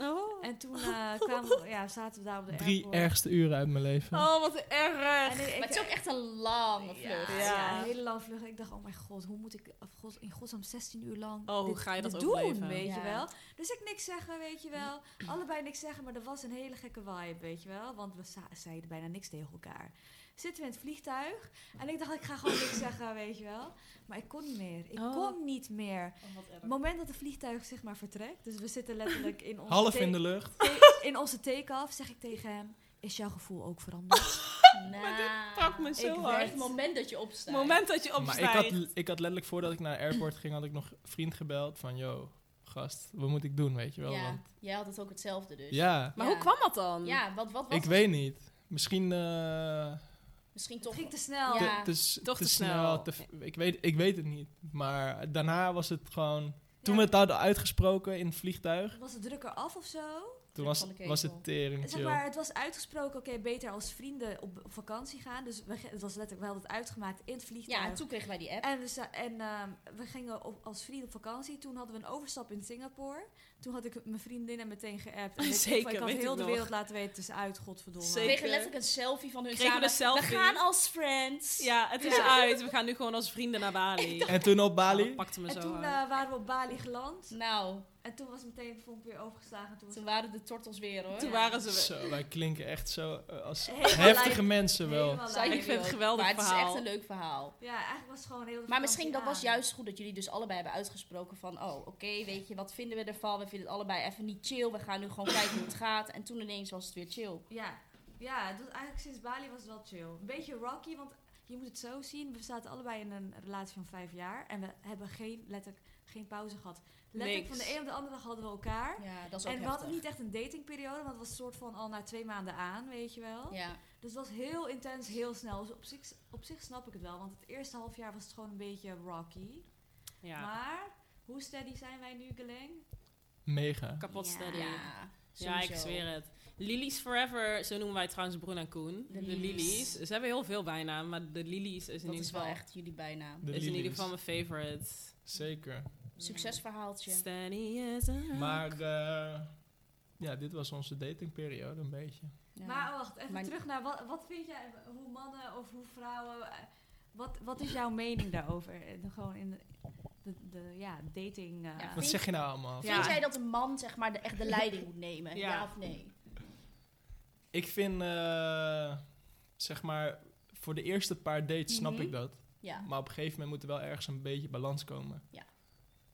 Oh.
En toen eh, kwamen we, ja, zaten we daar op de
Drie
airport.
ergste uren uit mijn leven.
Oh, wat erg.
En ik- ik-
Maar het is ook echt een lange
ja,
vlucht.
ja.
Ja.
een hele lange vlucht. Ik dacht, oh mijn god, hoe moet ik of god, in godsnaam 16 uur lang
Oh, hoe
dit-
ga je dat
dit
overleven?
doen, weet je
Ja.
wel. Dus ik niks zeggen, weet je wel. Allebei niks zeggen, maar er was een hele gekke vibe, weet je wel. Want we za- zeiden bijna niks tegen elkaar. Zitten we in het vliegtuig. En ik dacht, ik ga gewoon niks zeggen, weet je wel. Maar ik kon niet meer. Ik
Oh.
kon niet meer.
Oh, wat erg.
Het moment dat het vliegtuig zeg maar vertrekt. Dus we zitten letterlijk in onze
Half
take-
in de lucht.
te- in onze take-off. Zeg ik tegen hem, is jouw gevoel ook veranderd?
Maar dit
Pak me
ik
zo
werd-
hard.
Nou, Het moment dat je
eh,
opstaat.
moment dat je
Maar ik had,
opstijgt.
ik had letterlijk voordat ik naar de airport ging, had ik nog een vriend gebeld van, yo, gast, wat moet ik doen, weet je wel?
Ja,
Want,
jij had het ook hetzelfde dus.
ja,
Maar
Ja.
hoe kwam dat dan?
Ja, wat, wat was
ik
het?
weet niet. Misschien eh,
Misschien
Het
toch...
ging te snel.
te,
Ja.
te s-
Toch
te
te
snel.
snel.
te f- ik, weet, ik weet het niet. Maar daarna was het gewoon... Toen
Ja.
we het hadden uitgesproken in het vliegtuig,
Was het drukker af of zo?
toen
Druk
was,
van de
was
ketel.
het tering
Zeg
chill.
maar, het was uitgesproken, oké, beter als vrienden op, op vakantie gaan. Dus we, ge- het was letterlijk, we hadden het uitgemaakt in het vliegtuig.
Ja, en toen kregen wij die app.
En, we, za- en ehm, we gingen op, als vrienden op vakantie. Toen hadden we een overstap in Singapore. Toen had ik mijn vriendinnen meteen geappt. En weet ik veel,
Zeker,
ik had
weet
heel
ik
de
nog.
wereld laten weten, het is uit, godverdomme.
We
Zeker.
kregen letterlijk een selfie van hun
Kregen
samen.
we de selfie?
We gaan als friends.
Ja, het is uit. We gaan nu gewoon als vrienden naar Bali.
En toen op
Oh,
Bali,
dat pakte me
En
zo
toen
hard.
eh, waren we op Bali geland.
Nou,
En toen was meteen de vonk weer overgeslagen. Toen was
toen waren de tortels weer hoor.
Toen waren ze weer.
zo, wij klinken echt zo eh, als
Helemaal
heftige
lijp.
mensen wel.
helemaal
Zijn
lijp.
jullie
Ik vind het
ook.
geweldig
Maar het is
verhaal.
echt een leuk verhaal.
Ja, eigenlijk was het gewoon heel de
Maar misschien dat
vakantie
was
aan.
juist goed dat jullie dus allebei hebben uitgesproken van... Oh, oké, weet je, wat vinden we ervan? We vinden het allebei even niet chill. We gaan nu gewoon kijken hoe het gaat. En toen ineens was het weer chill.
Ja, ja het was eigenlijk sinds Bali was het wel chill. Een beetje rocky, want je moet het zo zien. We zaten allebei in een relatie van vijf jaar. En we hebben geen, letterlijk, geen pauze gehad. Letterlijk
Niks.
van de een op de andere dag hadden we elkaar.
Ja, dat is ook
en we
heftig.
hadden niet echt een datingperiode, want het was soort van al na twee maanden aan, weet je wel.
Ja,
Dus het was heel intens, heel snel. Dus op zich, op zich snap ik het wel, want het eerste half jaar was het gewoon een beetje rocky.
Ja,
Maar hoe steady zijn wij nu, Geleng?
Mega.
kapot steady.
Ah, ja.
Ja, ik
sowieso.
zweer het. Lilies Forever, zo noemen wij trouwens Broen en Koen.
De
De
Lilies.
Lilies. Ze hebben heel veel bijnamen, maar de Lilies is in,
Dat
ieder
is wel
geval,
echt jullie bijnaam.
De
is in ieder
Lilies.
geval mijn favorite.
Zeker.
Succesverhaaltje.
Steady as a rock.
Maar eh, ja, dit was onze datingperiode een beetje.
Ja.
Maar wacht, even
Maar-
terug naar wat, wat vind jij, hoe mannen of hoe vrouwen, eh, wat, wat is jouw mening daarover? Eh, de- gewoon in de, de, de ja, dating. eh,
Ja.
Wat zeg je nou allemaal?
Ja.
Vind jij dat een man zeg maar de, echt de leiding moet nemen? Ja,
Ja.
of nee?
Ik vind, eh, zeg maar, voor de eerste paar dates snap
Mhm.
ik dat.
Ja.
Maar op een gegeven moment moet er wel ergens een beetje balans komen.
Ja.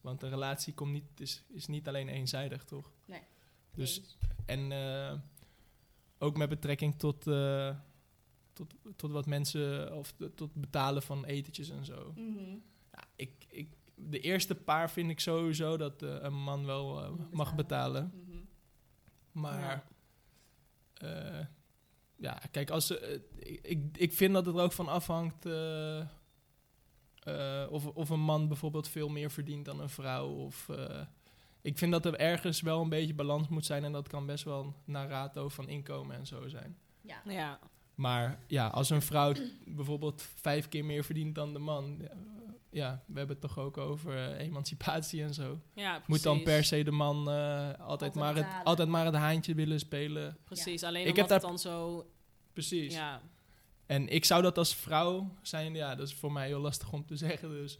Want een relatie komt niet, is, is niet alleen eenzijdig, toch?
Nee.
Dus,
eens.
En eh, ook met betrekking tot, eh, tot, tot wat mensen, of de- tot betalen van etentjes en zo.
Mhm.
Ja, ik, ik, de eerste paar vind ik sowieso dat eh, een man wel eh,
Moet
mag
betalen.
betalen.
Mhm.
Maar ja, Eh, ja kijk, als, ze- eh, ik- ik, ik vind dat het er ook van afhangt eh, eh, of, of een man bijvoorbeeld veel meer verdient dan een vrouw. Of, eh, ik vind dat er ergens wel een beetje balans moet zijn en dat kan best wel naar rato van inkomen en zo zijn.
Ja.
Ja,
Maar ja, als een vrouw bijvoorbeeld vijf keer meer verdient dan de man, ja, eh, ja, we hebben het toch ook over eh, emancipatie en zo.
ja precies.
Moet dan per se de man eh, altijd,
Altijd
maar het,
betalen.
altijd maar het haantje willen spelen?
Precies, alleen
Ik
omdat
heb daar-
het dan zo...
Precies.
Ja,
En ik zou dat als vrouw zijn, ja, dat is voor mij heel lastig om te zeggen. Dus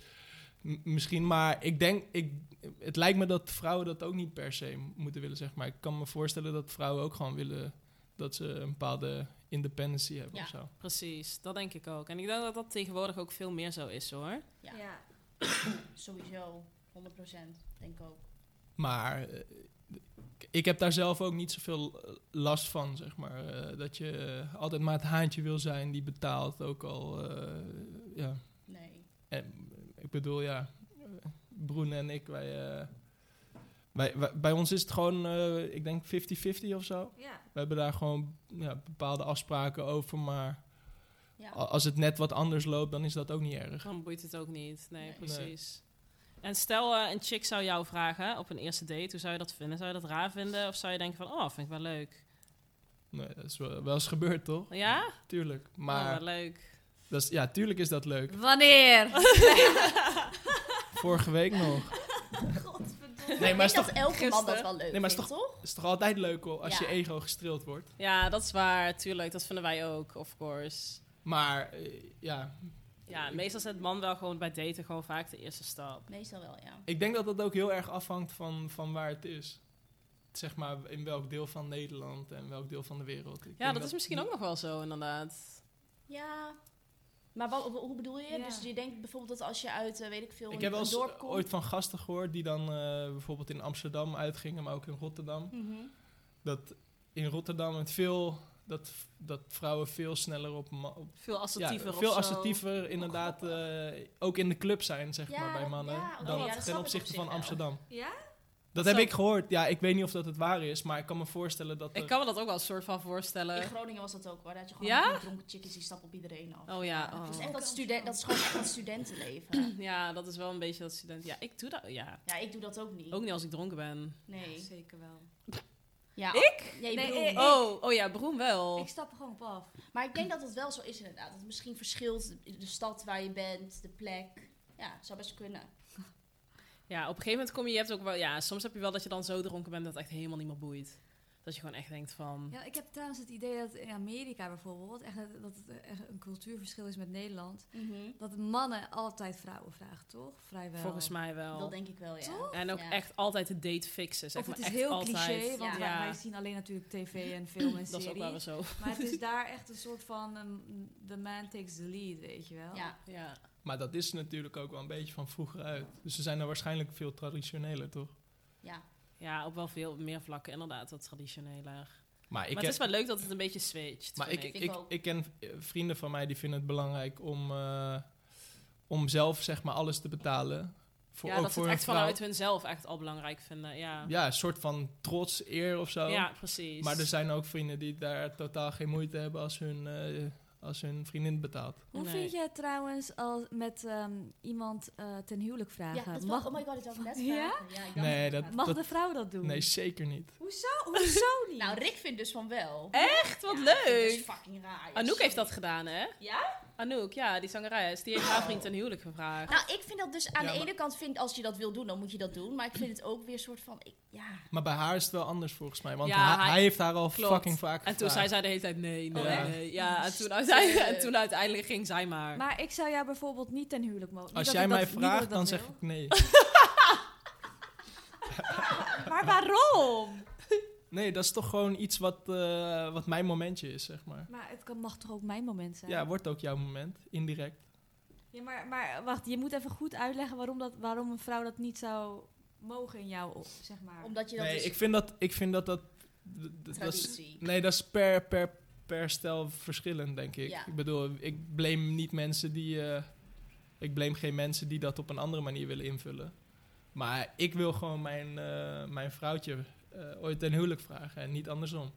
m- misschien, maar ik denk, ik, het lijkt me dat vrouwen dat ook niet per se m- moeten willen, zeg maar. Ik kan me voorstellen dat vrouwen ook gewoon willen dat ze een bepaalde independency hebben
Ja.
of zo.
precies. Dat denk ik ook. En ik denk dat dat tegenwoordig ook veel meer zo is, hoor.
Ja.
ja.
Sowieso, 100%, denk ik ook.
Maar eh, k- ik heb daar zelf ook niet zoveel eh, last van, zeg maar. Eh, dat je eh, altijd maar het haantje wil zijn die betaalt, ook al, eh, ja.
Nee.
En, eh, ik bedoel, ja, eh, Broen en ik, wij, eh, wij, wij- bij ons is het gewoon, eh, ik denk 50-50 of zo.
ja.
We hebben daar gewoon ja, bepaalde afspraken over, maar
Ja.
a- als het net wat anders loopt, dan is dat ook niet erg.
Dan boeit het ook niet. Nee,
Nee.
precies. En stel, eh, een chick zou jou vragen op een eerste date. Hoe zou je dat vinden? Zou je dat raar vinden? Of zou je denken van, oh, vind ik wel leuk.
Nee, dat is wel, wel eens gebeurd, toch?
Ja? Oh,
Tuurlijk. Maar
wel leuk.
dat is, ja, tuurlijk is dat leuk.
Wanneer?
Vorige week nog.
Godverdomme.
Nee, maar is
ik denk dat
toch,
elke man dat
gisteren?
wel leuk
Nee, maar is
vindt, toch?
is toch altijd leuk hoor, als
Ja.
je ego gestreeld wordt.
Ja, dat is waar. Tuurlijk, dat vinden wij ook, of course.
Maar eh, ja,
Ja, meestal zet man wel gewoon bij daten gewoon vaak de eerste stap.
Meestal wel, ja.
Ik denk dat dat ook heel erg afhangt van, van waar het is. Zeg maar in welk deel van Nederland en welk deel van de wereld. Ik
Ja,
denk
dat is misschien ook nog wel zo, inderdaad.
Ja. Maar wat, hoe bedoel je?
Ja.
Dus je denkt bijvoorbeeld dat als je uit, eh, weet ik veel,
Ik
een,
heb wel
een
eens
dorp komt.
ooit van gasten gehoord die dan eh, bijvoorbeeld in Amsterdam uitgingen, maar ook in Rotterdam.
Mhm.
Dat in Rotterdam het veel, dat, dat vrouwen veel sneller op, ma- op
Veel assertiever
ja,
of
veel
zo.
assertiever inderdaad eh, ook in de club zijn, zeg
Oh, Ja,
maar, bij
dat-
mannen.
ja, oké,
dan
ja, dat snap
ten
ik op
opzichte
zich
van
wel.
Amsterdam.
Ja?
Dat
Zo.
heb ik gehoord. Ja, ik weet niet of dat het waar is, maar ik kan me voorstellen dat
Ik
er-
kan me dat ook wel een soort van
In
voorstellen.
Groningen was dat ook, waar dat je gewoon
Eh? Ja?
allemaal dronken chickies die stappen op iedereen af.
Oh ja,
Dat is
oh.
echt dat, student, dat is gewoon echt dat studentenleven.
ja, dat is wel een beetje dat student. Ja, ik doe dat. Ja,
Ja, ik doe dat ook niet.
ook niet als ik dronken ben.
Nee.
Zeker wel.
Ja,
Ik?
Nee,
Nee,
broer.
ik-
Oh, oh ja, Broen wel.
Ik stap er gewoon op af.
Maar ik denk dat het wel zo is inderdaad. Dat het misschien verschilt de, de stad waar je bent, de plek. Ja, zou best kunnen.
Ja, op een gegeven moment kom je, je hebt ook wel, ja, soms heb je wel dat je dan zo dronken bent dat het echt helemaal niet meer boeit. Dat je gewoon echt denkt van,
Ja, ik heb trouwens het idee dat in Amerika bijvoorbeeld, echt, dat- dat het echt een cultuurverschil is met Nederland,
Mhm.
dat mannen altijd vrouwen vragen, toch? Vrijwel.
volgens mij wel.
Dat denk ik wel, ja.
Toch?
en ook
Ja.
echt altijd de date fixen, zeg
Of het
maar.
is
echt
heel
altijd.
cliché, want
Ja.
wij, wij zien alleen natuurlijk tv en film en
dat is ook wel weer
series.
zo.
Maar het is daar echt een soort van um, the man takes the lead, weet je wel.
Ja,
Ja.
Maar dat is natuurlijk ook wel een beetje van vroeger uit. Dus ze zijn er waarschijnlijk veel traditioneler, toch?
ja.
ja, op wel veel meer vlakken inderdaad, wat traditioneler.
Maar ik,
maar
heb-
het is wel leuk dat het een beetje switcht.
maar
vind
ik,
ik,
ik,
ik
ik,
ook.
ken eh, vrienden van mij die vinden het belangrijk om, eh, om zelf zeg maar alles te betalen. Voor,
ja,
ook
dat ze
voor
het
een
echt
vrouw.
vanuit hunzelf echt al belangrijk vinden. Ja, ja,
Ja, een soort van trots, eer of zo.
precies.
Maar er zijn ook vrienden die daar totaal geen moeite hebben als hun, eh, als hun vriendin betaalt.
Hoe
Nee.
vind je het trouwens als met ehm, iemand eh, ten huwelijk
ja
vragen?
dat
mag,
mag, oh my god, ik wou het net
Ja?
vragen. Ja? ik dacht
Nee,
het
dat-
vragen.
mag
dat-
de vrouw dat doen?
Nee, zeker niet.
Hoezo? Hoezo niet?
Nou, Rick vindt dus van wel.
echt wat
Ja, Dat is
leuk.
dus fucking raar.
Anouk
Sorry.
heeft dat gedaan, hè?
Ja?
Anouk, ja, die zangeres. Die heeft haar vriend ten huwelijk gevraagd.
Nou, ik vind dat dus aan
Ja,
de
maar-
ene kant vind ik, als je dat wil doen, dan moet je dat doen. Maar ik vind het ook weer een soort van, ik, ja.
Maar bij haar is het wel anders volgens mij. Want
Ja,
hij,
hij-
hij heeft haar al
Klopt.
fucking vaak
En toen
gevraagd.
zei zij de hele tijd nee, nee,
Oh, echt?
nee. Ja, en toen, uiteindelijk, en toen uiteindelijk ging zij maar.
Maar ik zou jou bijvoorbeeld niet ten huwelijk mogen.
Als jij mij vraagt, dan zeg ik nee.
Maar waarom?
Nee, dat is toch gewoon iets wat, eh, wat mijn momentje is, zeg maar.
Maar het kan, mag toch ook mijn moment zijn?
Ja, wordt ook jouw moment, indirect.
Ja, maar, maar wacht, je moet even goed uitleggen waarom, dat, waarom een vrouw dat niet zou mogen in jou, op, zeg maar.
Omdat je dat
Nee,
dus-
ik vind dat... Ik vind dat, dat, d- d- dat is,
Traditie.
nee, dat is per, per, per stel verschillend, denk ik.
Ja.
Ik bedoel, ik blame niet mensen die... eh, ik blame geen mensen die dat op een andere manier willen invullen. Maar ik wil gewoon mijn, eh, mijn vrouwtje eh, ooit ten huwelijk vragen en niet andersom.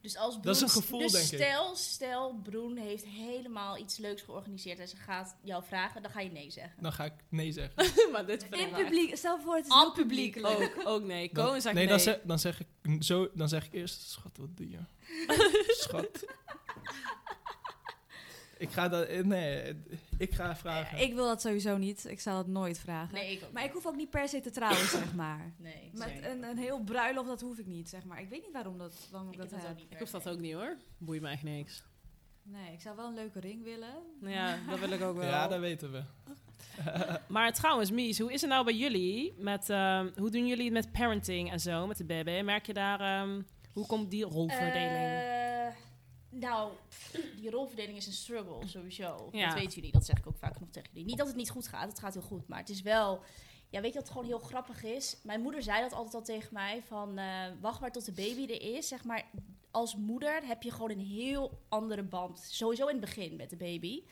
Dus als Broen,
Dat is een gevoel,
dus
denk ik.
stel, Stel, Broen heeft helemaal iets leuks georganiseerd en ze gaat jou vragen, dan ga je nee zeggen.
Dan ga ik nee zeggen.
maar dit
in publiek, stel voor het is
Aan
heel
publiek ook, ook nee. Cohen zegt nee.
nee, dan zeg, dan, zeg ik, zo, dan zeg ik eerst, schat, wat doe je? schat. Ik ga dat, eh, nee, ik ga vragen.
Ik wil dat sowieso niet, ik zou dat nooit vragen.
Nee, ik ook
Maar ik
niet.
hoef ook niet per se te trouwen, zeg maar.
Nee,
Met
zeker.
een, een heel bruiloft, dat hoef ik niet, zeg maar. Ik weet niet waarom, dat, waarom ik,
ik
dat,
heb dat
heb.
ook niet.
Ik hoef dat ook niet hoor. Boeit me echt niks.
Nee, ik zou wel een leuke ring willen.
Nou Ja, dat wil ik ook wel.
ja, dat weten we.
Maar trouwens, Mies, hoe is het nou bij jullie? Met, ehm, hoe doen jullie het met parenting en zo, met de baby? Merk je daar, ehm, hoe komt die rolverdeling?
Eh, nou, pff, die rolverdeling is een struggle sowieso.
Ja.
Dat weten jullie, dat zeg ik ook vaak nog tegen jullie. Niet dat het niet goed gaat, het gaat heel goed. Maar het is wel, ja, weet je wat gewoon heel grappig is? Mijn moeder zei dat altijd al tegen mij, van eh, wacht maar tot de baby er is. Zeg maar, als moeder heb je gewoon een heel andere band. Sowieso in het begin met de baby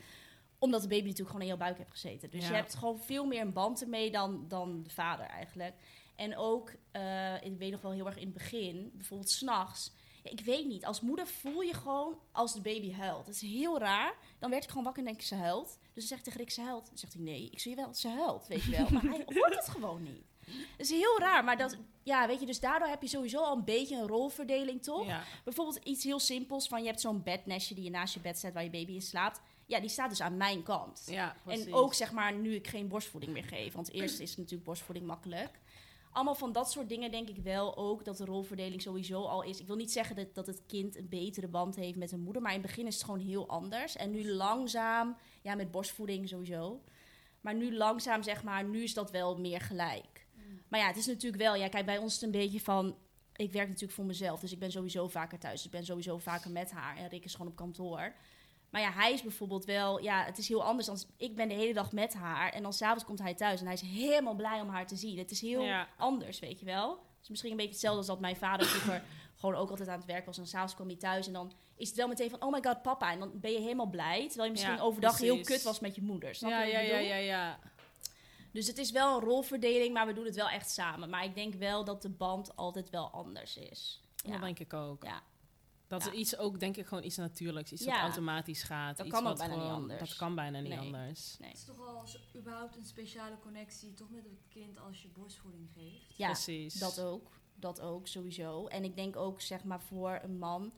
omdat de baby natuurlijk gewoon in jouw buik hebt gezeten. Dus
Ja.
je hebt gewoon veel meer een band ermee dan, dan de vader eigenlijk. En ook, eh, ik weet nog wel heel erg in het begin, bijvoorbeeld s'nachts. Ja, ik weet niet, als moeder voel je gewoon als de baby huilt. Dat is heel raar. Dan werd ik gewoon wakker en denk ik, ze huilt. Dus dan zeg ik tegen Rick, ze huilt. Dan zegt hij, nee, ik zie je wel, ze huilt, weet je wel. Maar hij hoort het gewoon niet. Dat is heel raar, maar dat, ja, weet je, dus daardoor heb je sowieso al een beetje een rolverdeling, toch?
Ja.
Bijvoorbeeld iets heel simpels van je hebt zo'n bednestje die je naast je bed zet waar je baby in slaapt. Ja, die staat dus aan mijn kant.
ja, precies.
en ook zeg maar nu ik geen borstvoeding meer geef, want eerst is natuurlijk borstvoeding makkelijk. Allemaal van dat soort dingen denk ik wel ook dat de rolverdeling sowieso al is. Ik wil niet zeggen dat, dat het kind een betere band heeft met zijn moeder, maar in het begin is het gewoon heel anders. En nu langzaam, ja met borstvoeding sowieso, maar nu langzaam zeg maar, nu is dat wel meer gelijk. Maar ja, het is natuurlijk wel, ja kijk bij ons is het een beetje van, ik werk natuurlijk voor mezelf, dus ik ben sowieso vaker thuis. Dus ik ben sowieso vaker met haar. En Rick is gewoon op kantoor. Maar ja, hij is bijvoorbeeld wel... Ja, het is heel anders dan... Ik ben de hele dag met haar. En dan s'avonds komt hij thuis. En hij is helemaal blij om haar te zien. Het is heel
Ja.
anders, weet je wel. Het is misschien een beetje hetzelfde als dat mijn vader vroeger... gewoon ook altijd aan het werk was. En s'avonds kwam hij thuis. En dan is het wel meteen van... Oh my god, papa. En dan ben je helemaal blij. Terwijl je misschien
Ja,
overdag heel
precies.
kut was met je moeder. Snap
ja,
je wat
ja,
ik
ja,
bedoel?
ja, ja.
Dus het is wel een rolverdeling, maar we doen het wel echt samen. Maar ik denk wel dat de band altijd wel anders is. Ja,
Dat denk ik ook.
Ja.
Dat
Ja.
is iets ook, denk ik, gewoon iets natuurlijks. Iets
Ja.
wat automatisch gaat.
Dat
iets
kan ook
wat
bijna niet
gewoon-
anders.
Dat kan bijna niet
Nee.
anders.
nee.
Het is toch al zo- überhaupt een speciale connectie, toch met het kind als je borstvoeding geeft.
ja
Precies.
dat ook. Dat ook, sowieso. En ik denk ook, zeg maar, voor een man...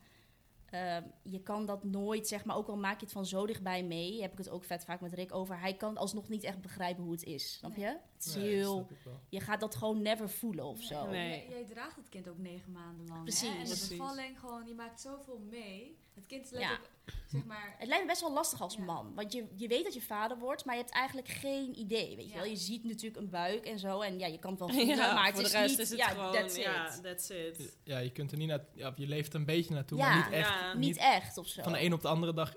ehm, je kan dat nooit, zeg maar, ook al maak je het van zo dichtbij mee... heb ik het ook vet vaak met Rick over... hij kan alsnog niet echt begrijpen hoe het is, snap je? Het is
Nee, dat
heel...
snap ik wel.
Je gaat dat gewoon never voelen of zo.
Nee.
Jij, jij draagt het kind ook negen maanden lang.
Precies.
Hè? En de
Precies.
bevalling gewoon, je maakt zoveel mee. Het kind
Ja.
is letterlijk, zeg maar,
Het lijkt me best wel lastig als
Ja.
man. Want je, je weet dat je vader wordt, maar je hebt eigenlijk geen idee. Weet je
Ja.
wel, je ziet natuurlijk een buik en zo. En ja, je kan het wel voelen,
Ja,
maar het
voor
is
de rest
niet...
is het
ja,
gewoon...
that's it.
ja, that's it.
Ja, je kunt er niet naar... Ja, je leeft een beetje naartoe,
Ja.
maar niet echt.
Ja.
Niet,
Niet-
echt of zo.
Van de een op de andere dag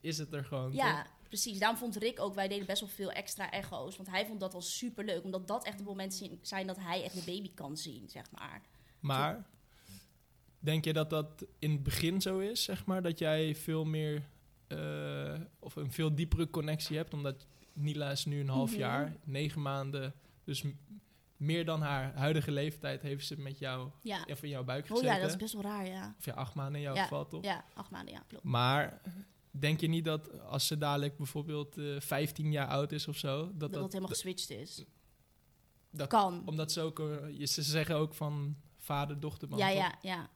is het er gewoon. toch?
Ja, precies. Daarom vond Rick ook, wij deden best wel veel extra echo's. Want hij vond dat al superleuk. Omdat dat echt de momenten zien- zijn dat hij echt de baby kan zien, zeg maar.
Maar denk je dat dat in het begin zo is, zeg maar? Dat jij veel meer eh, of een veel diepere connectie hebt, omdat Nila is nu een half
Mhm.
jaar, negen maanden, dus m- meer dan haar huidige leeftijd heeft ze met jou
Ja.
of in jouw buik
Oh
gezeten.
ja, dat is best wel raar, ja.
Of ja, acht maanden in jouw
Ja,
geval toch?
Ja, acht maanden, ja, klopt.
Maar denk je niet dat als ze dadelijk bijvoorbeeld eh 15 jaar oud is of zo, dat
Dat
dat,
dat helemaal geswitcht is.
dat-
Kan.
omdat ze ook eh, je- ze zeggen ook van vader dochterband.
Ja,
toch?
ja, ja.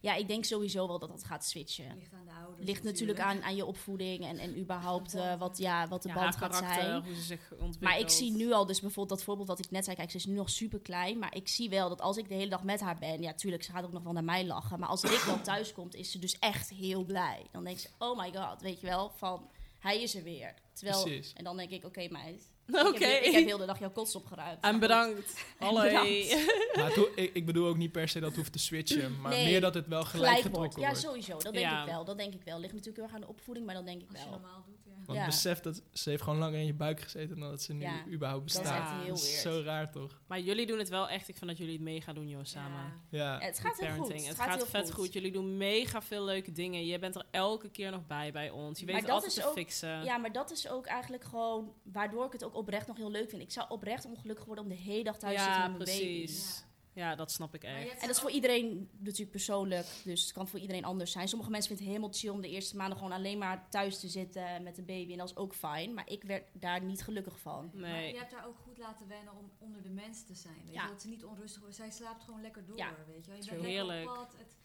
Ja, ik denk sowieso wel dat dat gaat switchen.
ligt aan de ouders.
Ligt natuurlijk aan, aan je opvoeding en, en überhaupt eh, wat, ja, wat de
Ja,
band
haar
gaat
karakter,
zijn.
hoe ze zich ontwikkelt.
Maar ik zie nu al, dus bijvoorbeeld dat voorbeeld wat ik net zei, kijk, ze is nu nog super klein. Maar ik zie wel dat als ik de hele dag met haar ben, ja, tuurlijk, ze gaat ook nog wel naar mij lachen. Maar als Rick dan thuis komt, is ze dus echt heel blij. Dan denkt ze, oh my god, weet je wel, van hij is er weer. Terwijl,
Precies.
En dan denk ik, oké, meid.
Oké.
Ik, heb, ik heb heel de dag jouw kots opgeruimd.
En bedankt. Hallo.
bedankt.
Maar het ho- ik, ik bedoel ook niet per se dat hoeft te switchen, maar
Nee.
meer dat het wel gelijk,
Gelijk wordt.
getrokken
Ja,
wordt.
sowieso. Dat denk
Ja.
ik wel. Dat denk ik wel. Ligt natuurlijk heel erg aan de opvoeding, maar dat denk ik
Als je
wel.
normaal doet, ja.
Want
Ja.
besef dat ze heeft gewoon langer in je buik gezeten dan dat ze nu
Ja,
überhaupt
Dat
bestaat.
is echt
Ja.
heel
Dat
weird.
is zo raar toch?
Maar jullie doen het wel echt. Ik vind dat jullie het mee gaan doen, joh, samen.
Ja.
Ja.
Ja, het gaat heel goed.
Parenting. Het, gaat,
heel
vet goed. Jullie doen mega veel leuke dingen. Je bent er elke keer nog bij bij ons. Je
Maar
weet het
dat
altijd
is
te
ook-
fixen.
Ja, maar dat is ook eigenlijk gewoon waardoor ik het ook oprecht nog heel leuk vind. Ik zou oprecht ongelukkig worden om de hele dag thuis te
Ja,
zitten met mijn baby.
precies. Ja, dat snap ik
Maar je
echt.
hebt
En dat is voor iedereen natuurlijk persoonlijk, dus het kan voor iedereen anders zijn. Sommige mensen vinden het helemaal chill om de eerste maanden gewoon alleen maar thuis te zitten met de baby. En dat is ook fijn, maar ik werd daar niet gelukkig van.
Maar
Nee.
je hebt haar ook goed laten wennen om onder de mensen te zijn. Weet
Ja.
je? Dat ze niet onrustig wordt. Zij slaapt gewoon lekker door.
Ja,
Weet je? wel. je
true.
bent lekker op
Heerlijk.
pad. Het,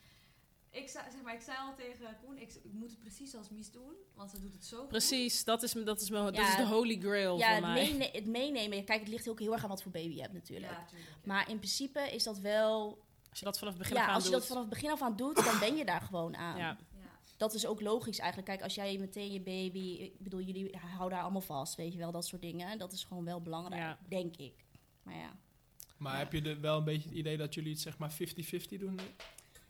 ik, zei, zeg maar, ik zei al tegen Koen, ik, ik moet het precies als Mies doen. Want ze doet het zo goed.
Precies. Dat is, m- dat is, mijn, dat
Ja.
is de holy grail
Ja,
voor
het,
mij.
meene- het meenemen, kijk, het ligt ook heel erg aan wat voor baby je hebt natuurlijk.
Ja, tuurlijk, ja.
Maar in principe is dat wel,
Als je dat vanaf het begin af
ja,
aan
als je
doet.
dat vanaf het begin af aan doet, dan ben je daar gewoon aan.
ja.
Ja.
dat is ook logisch eigenlijk. Kijk, als jij meteen je baby... Ik bedoel, jullie houden haar allemaal vast, weet je wel. Dat soort dingen. Dat is gewoon wel belangrijk,
Ja.
denk ik. Maar ja,
Maar heb je er wel een beetje het idee dat jullie het zeg maar 50-50 doen?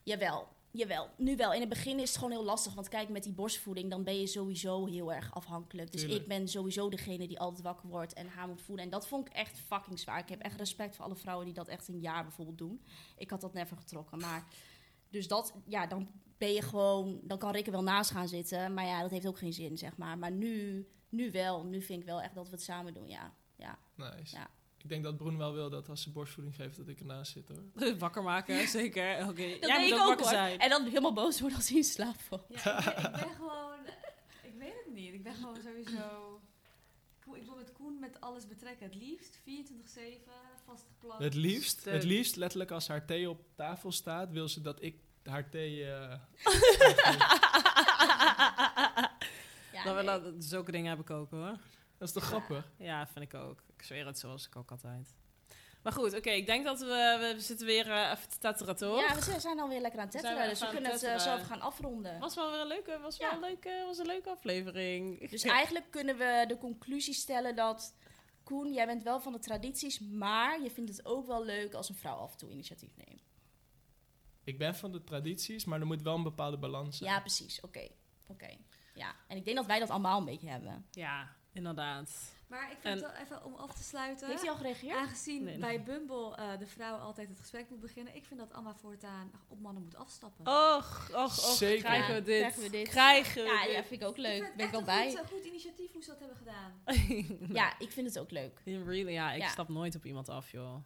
jawel. Jawel, nu wel. In het begin is het gewoon heel lastig. Want kijk, met die borstvoeding, dan ben je sowieso heel erg afhankelijk. Dus
Tuurlijk.
ik ben sowieso degene die altijd wakker wordt en haar moet voeden. En dat vond ik echt fucking zwaar. Ik heb echt respect voor alle vrouwen die dat echt een jaar bijvoorbeeld doen. Ik had dat never getrokken. Maar dus dat, ja, dan ben je gewoon... Dan kan Rick er wel naast gaan zitten. Maar ja, dat heeft ook geen zin, zeg maar. Maar nu, nu wel. Nu vind ik wel echt dat we het samen doen, ja. Ja,
Nice.
Ja.
Ik denk dat Broen wel wil dat als ze borstvoeding geeft dat ik ernaast zit hoor.
Wakker maken, zeker. Oké.
dat
Jij
deed
moet
ik
ook
ook
wakker
hoor.
zijn.
En dan helemaal boos worden als hij in slaap valt.
Ja, ik, ben, ik ben gewoon... Ik weet het niet. Ik ben gewoon sowieso... Koen- Ik wil met Koen met alles betrekken. Het liefst 24-7, vastgeplakt.
Het liefst,
Stuk.
het liefst letterlijk als haar thee op tafel staat, wil ze dat ik haar thee... eh,
Nou,
Ja, nou,
dat we
nee.
dat, zulke dingen heb ik ook hoor.
dat is toch grappig?
Ja, vind ik ook. Ik zweer het zoals ik ook altijd. Maar goed, oké, ik denk dat we, we zitten weer eh, even te tetteren, toch?
Ja, we zijn- zijn alweer lekker aan het
We zijn
tetteren,
weer
dus we
even
kunnen
aan
het
het
eh, zo
tetteren.
even gaan afronden.
Was wel weer een leuke, was
Ja.
wel een leuke, was een leuke aflevering.
Dus eigenlijk kunnen we de conclusie stellen dat... Koen, jij bent wel van de tradities, maar je vindt het ook wel leuk als een vrouw af en toe initiatief neemt.
Ik ben van de tradities, maar er moet wel een bepaalde balans zijn.
Ja, precies. Oké. Oké. Ja, en ik denk dat wij dat allemaal een beetje hebben.
Ja, inderdaad.
Maar ik vind
En-
het wel even om af te sluiten.
Heeft hij al gereageerd?
Aangezien
Nee,
bij Bumble eh, de vrouw altijd het gesprek moet beginnen, ik vind dat Amma voortaan op mannen moet afstappen.
Oh, Och, och, och.
Zeker.
Krijgen we dit?
Oh. Krijgen we dit?
Krijgen we
Ja,
dit?
ja, vind ik ook
Ik vind
leuk.
het
Ben ik
echt
wel
een
bij.
Goed, eh, een goed initiatief hoe ze dat hebben gedaan.
Ja, ik vind het ook leuk.
In really, ja, ik
Ja.
stap nooit op iemand af, joh.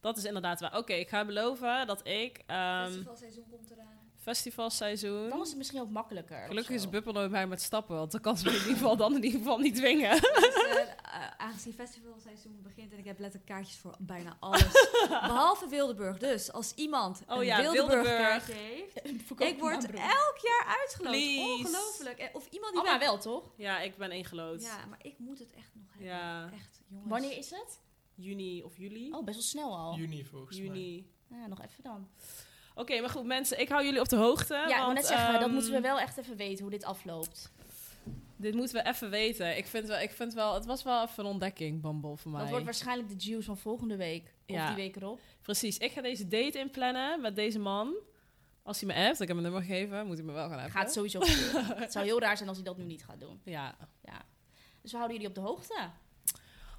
Dat is inderdaad waar. Oké, ik ga beloven dat ik ehm,
Festivalseizoen komt eraan.
festivalseizoen...
Dan is het misschien ook makkelijker. of
Gelukkig
zo.
is Buppel nooit bij met stappen, want dan kan ze me in ieder geval dan in ieder geval niet dwingen.
Dus, eh, eh, aangezien festivalseizoen begint en ik heb letterlijk kaartjes voor bijna alles. Behalve Wildeburg. Dus als iemand
Oh
een
ja,
Wildeburg
Wildeburg.
kaartje heeft,
Verkoop
ik word
maar, broer.
elk jaar uitgeloot.
Please.
Ongelooflijk. Eh, Of iemand die
Alma
bij-
wel, toch?
Ja, ik ben één geloot.
Ja, maar ik moet het echt nog hebben.
Ja.
Echt, jongens.
Wanneer is het?
Juni of juli?
Oh, best wel snel al.
Juni volgens mij.
juni.
Ja, nog even dan.
Oké, maar goed, mensen, ik hou jullie op de hoogte.
Ja, ik
want,
moet net zeggen, dat
ehm,
moeten we wel echt even weten hoe dit afloopt.
Dit moeten we even weten. Ik vind wel, ik vind wel, het was wel even een ontdekking, Bumble, voor mij.
Dat wordt waarschijnlijk de juice van volgende week. Of
Ja.
die week erop.
Precies, ik ga deze date inplannen met deze man. Als hij me appt, ik heb mijn nummer gegeven, moet hij me wel gaan appen.
Gaat het sowieso gebeuren. Het zou heel raar zijn als hij dat nu niet gaat doen.
Ja.
Ja. Dus we houden jullie op de hoogte.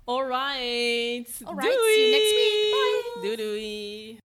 Alright.
Alright, see you next week. Bye.
Doei doei.